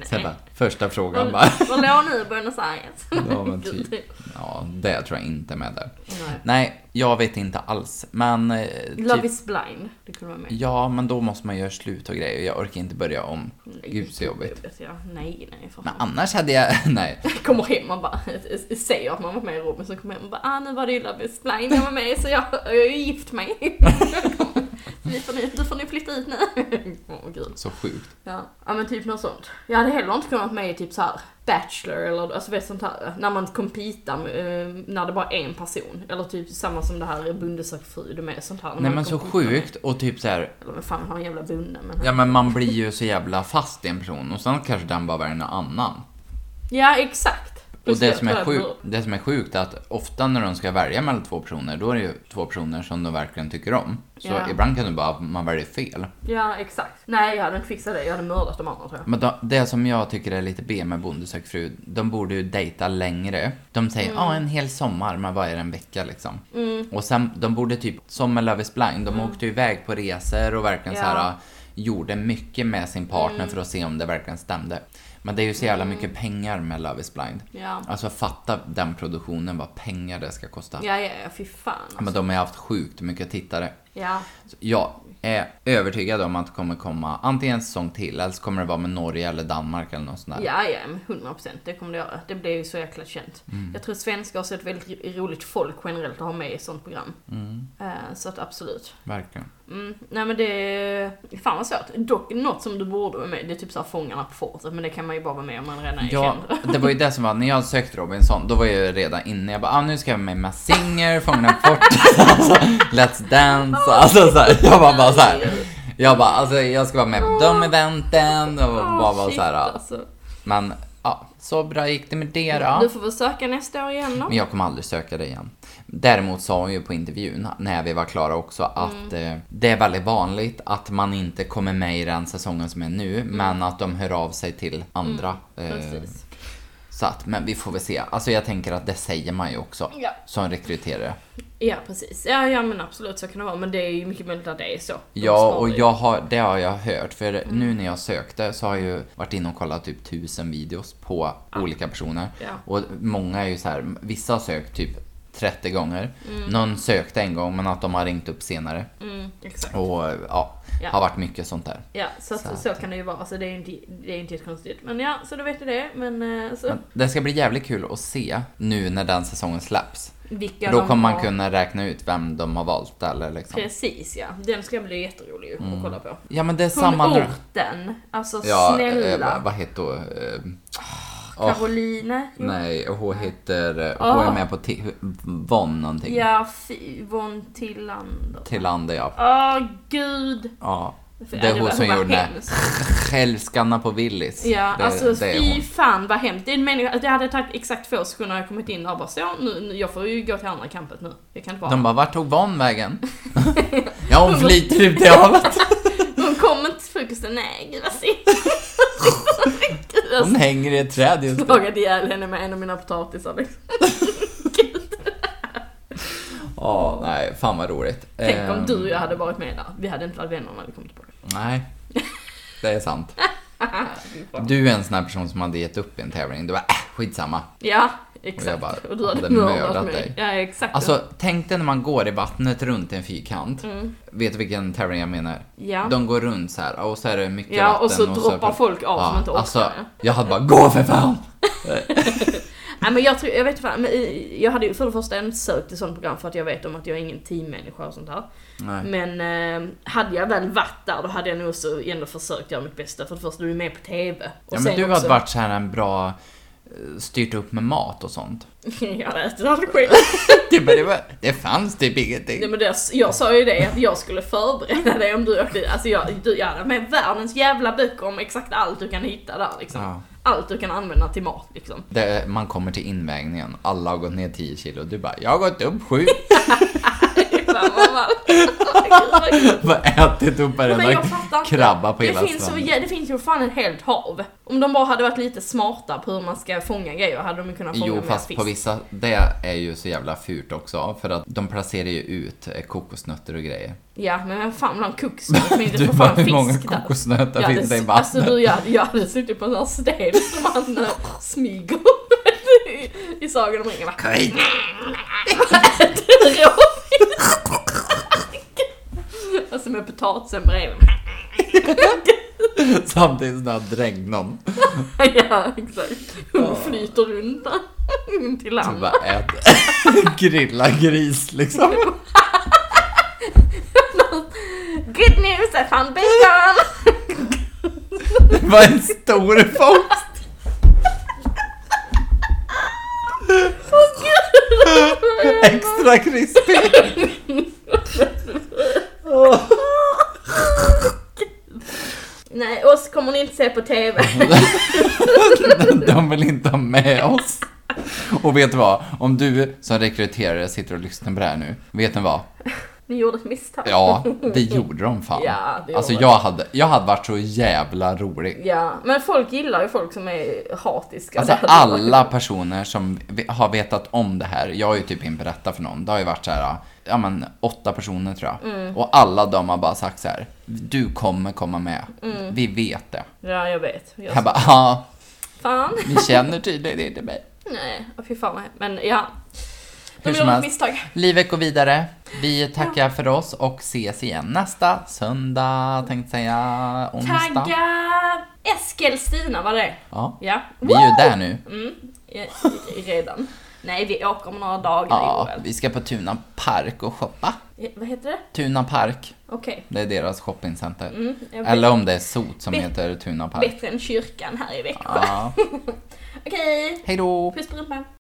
B: Sen
A: Nej.
B: bara, första frågan
A: Vad
B: bara.
A: vad låg ni i Buenos Aires?
B: Ja, men
A: Gud.
B: typ. Ja, det tror jag inte är med där.
A: Nej.
B: Nej, jag vet inte alls. Men... eh,
A: Love
B: typ-
A: is blind, det kunde vara med.
B: Ja, men då måste man göra slut och grejer. Jag orkar inte börja om.
A: Nej,
B: Gud, så jobbigt.
A: Ja, nej, nej för
B: Men
A: fan.
B: annars hade jag... Nej.
A: Kommer hem och bara säger att man var med i Robinson, kommer hem och bara ah, nu var det ju Love is blind jag var med i, så jag, jag är ju gift mig. Vi får ni, du får ni flytta ut nu. Åh gud.
B: Så sjukt.
A: Ja. ja men typ något sånt. Jag hade heller inte kunnat med i typ så här Bachelor eller alltså vet sånt här när man competar med, eh, när det bara är en person. Eller typ samma som det här Bonde söker fru, det är med sånt här. när
B: Nej,
A: man
B: men så
A: competar med-
B: sjukt. Och typ så här...
A: Eller vad fan har en jävla bonde men.
B: Ja, men man blir ju så jävla fast i en person. Och sen kanske den bara väljer någon annan.
A: Ja exakt.
B: Och
A: Plus
B: det
A: jag
B: som, är
A: tror jag
B: sjukt, det som är sjukt är att ofta när de ska välja mellan två personer, då är det ju två personer som de verkligen tycker om. Så
A: Ja.
B: ibland kan det bara man väljer fel.
A: Ja exakt. Nej jag hade inte fixat det, jag hade mördat de andra tror jag.
B: Men de, det som jag tycker är lite B med Bonde sök fru, de borde ju dejta längre. De säger
A: Mm.
B: ja en hel sommar, men vad är det, en vecka liksom? Och sen, de borde typ, som med Love is blind, de åkte ju iväg på resor och verkligen så här
A: Mm. Ja. Mm.
B: gjorde mycket med sin partner för att se om det verkligen stämde. Men det är ju så jävla mycket pengar med Love is blind.
A: Ja.
B: Alltså fatta den produktionen, vad pengar det ska kosta.
A: Ja ja ja, fy fan alltså.
B: Men de har ju haft sjukt mycket tittare.
A: Ja.
B: Så jag är övertygad om att det kommer komma antingen en säsong till eller så kommer det vara med Norge eller Danmark eller något sånt där.
A: Ja, ja, men 100 procent. Det kommer det göra. Det blir ju så jäkla känt.
B: Mm.
A: Jag tror svenskar också är ett väldigt ro- roligt folk generellt att ha med i ett sånt program.
B: Mm.
A: Eh, Så att absolut.
B: Verkligen.
A: Mm. Nej men det... Fan vad svårt. Dock, något som du borde vara med det är typ såhär Fångarna på fortet. Men det kan man ju bara vara med om man redan är
B: Ja,
A: känd.
B: det var ju det som var, när jag sökte Robinson, då var jag ju redan inne. Jag bara, ah, nu ska jag med med Singer, Fångarna på fortet, alltså, Let's Dance, alltså så här, Jag var bara så här. Jag bara, alltså jag ska vara med på de eventen och
A: Ah,
B: bara vara
A: shit,
B: så här. ja.
A: alltså.
B: Men ja, så bra gick det med det då.
A: Du får väl söka nästa år igen då.
B: Men jag kommer aldrig söka det igen. Däremot sa hon ju på intervjun, när vi var klara också, att
A: Mm.
B: eh, det är väldigt vanligt att man inte kommer med i den säsongen som är nu, men att de hör av sig till andra. eh,
A: Mm. Precis.
B: så att, men vi får väl se. Alltså jag tänker att det säger man ju också,
A: Ja.
B: som rekryterare.
A: Ja precis. Ja, ja men absolut så kan det vara. Men det är ju mycket möjligt att det är så. De
B: Ja,
A: sparar
B: och
A: ju.
B: jag har, det har jag hört, för nu när jag sökte så har jag ju varit inne och kollat typ tusen videos på olika personer.
A: Ja.
B: Och många är ju så här, vissa har sökt typ 30 gånger. Någon sökte en gång, men att de har ringt upp senare.
A: Mm, exakt.
B: Och ja,
A: Ja.
B: har varit mycket sånt där.
A: Ja, så, att,
B: Så
A: så,
B: att-
A: kan det ju vara. Alltså, det är ju inte, det är inte konstigt. Men ja, så då vet ni det. Men eh, så,
B: Men det ska bli jävligt kul att se nu när den säsongen släpps.
A: vilka
B: Då
A: de
B: kommer man
A: har-
B: kunna räkna ut vem de har valt eller liksom.
A: Precis ja, den ska bli jätterolig ju att kolla på.
B: Ja men det är
A: Hon
B: Mm. samma nu.
A: orten, alltså
B: Ja, eh,
A: snälla.
B: vad- vad heter hon? Eh, åh.
A: Caroline? Jo.
B: Nej, hon heter...
A: Ah.
B: Hon är med på T- Von någonting.
A: Ja, fy- Von Tillander.
B: Tillander, ja.
A: Åh gud!
B: ja.
A: För-
B: Det är
A: var-
B: hon som
A: var
B: gjorde den
A: hemsk.
B: självskanna på Willis.
A: Ja,
B: det,
A: alltså
B: det är
A: fy
B: hon.
A: fan vad hemskt. Det, är en människa- det hade tagit exakt två sekunder när jag kommit in där och bara så, nu, nu, jag får ju gå till andra kampet nu. Jag kan inte vara
B: De bara, vart tog Von vägen? ja, hon flyter ut i havet.
A: Hon kommer inte till frukosten, nej gud vad synd. Gud,
B: Hon
A: Jag
B: hänger i ett träd just nu.
A: slagade ihjäl henne med en av mina potatisar liksom.
B: Ja, nej, fan vad roligt.
A: Tänk om
B: Ehm,
A: du och jag hade varit med där. Vi hade inte varit vänner när vi kom tillbaka.
B: Nej, det är sant. Du är en sån här person som hade gett upp i en tävling. Du bara, äh, skitsamma.
A: Ja, exakt.
B: Och jag bara
A: och du hade,
B: hade
A: mördat,
B: mördat
A: mig.
B: dig.
A: Ja, exakt.
B: Alltså, tänk dig när man går i vattnet runt en fyrkant.
A: Mm.
B: Vet du vilken tävling jag menar?
A: Ja.
B: De går runt så här och så är det mycket
A: Ja,
B: vatten.
A: och så droppar folk av som inte orkar
B: Alltså,
A: med.
B: jag hade bara, gå för fan!
A: Nej men jag tror, jag vet inte fan, men eh, jag hade ju för det första inte sökt till sånt program för att jag vet om att jag är ingen teammänniska och sånt här.
B: Nej.
A: Men eh, hade jag väl varit där då hade jag nog så ändå försökt göra mitt bästa för det första, du är med på TV. Och
B: Ja, men du
A: också-
B: hade varit så här en bra, eh, styrt upp med mat och sånt.
A: jag hade ätit all skit.
B: Det, bara, det, var, det fanns typ
A: Nej,
B: ingenting.
A: men det, jag sa ju det att jag skulle förbereda dig om du åkte dit. Alltså jag, du, jag hade med världens jävla böcker om exakt allt du kan hitta där liksom.
B: Ja.
A: Allt du kan använda till mat liksom.
B: Det, man kommer till invägningen, alla har gått ner 10 kilo. Du bara, jag har gått upp 7.
A: Fan, vad man- Gud, vad kul.
B: Bara ätit upp
A: Men
B: varenda
A: jag fattar inte.
B: krabba på
A: det
B: hela
A: finns, så,
B: stranden.
A: jä- det finns ju fan ett helt hav. Om de bara hade varit lite smarta på hur man ska fånga grejer hade de ju kunnat fånga
B: Jo,
A: mer
B: fast
A: fisk.
B: på vissa, det är ju så jävla fult också, för att de placerar ju ut eh, kokosnötter och grejer.
A: Ja, men vem fan vill ha en kokosnöt? Det finns
B: Du
A: ju för
B: bara,
A: fan
B: hur
A: fisk
B: många
A: där.
B: kokosnötter
A: Jag hade
B: finns det i
A: s-
B: vattnet?
A: Alltså du, jag, hade- jag hade suttit på en sån här sten som han eh, smyger i, i Sagan om ringen. va?
B: Nej!
A: Äter råfisk. Alltså med potatisen bredvid.
B: Samtidigt som du drängt någon.
A: Ja, exakt. Hon flyter runt där. In till
B: Du
A: land.
B: bara, ät. Grilla gris liksom.
A: Good news, I found bacon!
B: Det var en stor fångst. Extra krispig.
A: Nej, oss kommer ni inte se på TV.
B: De vill inte ha med oss. Och vet du vad? Om du som rekryterare sitter och lyssnar på det här nu, vet ni vad?
A: Ni gjorde ett misstag.
B: Ja, det gjorde de fan.
A: Ja, det
B: alltså
A: gjorde
B: jag hade, jag hade varit så jävla rolig.
A: Ja, men folk gillar ju folk som är hatiska.
B: Alltså
A: Det hade varit-
B: alla personer som ve- har vetat om det här, jag har ju typ inte berättat för någon, det har ju varit så här, ja men åtta personer tror jag.
A: Mm.
B: Och alla de har bara sagt så här, du kommer komma med, vi vet det.
A: Ja, jag vet. Mm. Jag
B: Jag bara, ja,
A: Fan.
B: ni känner tydligen inte mig.
A: Nej, åh, fy fan vad hemskt. Men ja. De
B: Hur som
A: gjorde ett
B: helst.
A: misstag.
B: Livet går vidare. Vi tackar för oss och ses igen nästa söndag, tänkte säga. Onsdag.
A: Tagga Eskilstuna var det.
B: Ja.
A: Ja.
B: Vi är ju där nu.
A: Mm, Ja, Redan. Nej, vi åker om några dagar i
B: Ja,
A: år.
B: vi ska på Tuna Park och shoppa.
A: Ja, Vad heter det?
B: Tuna Park,
A: Okej.
B: det är deras shoppingcenter.
A: Mm, jag vet.
B: Eller om det är Sot som
A: Vet-
B: heter Tuna Park.
A: Bättre än kyrkan här i Växjö.
B: Ja.
A: Okej,
B: Hej då!
A: puss på rumpan.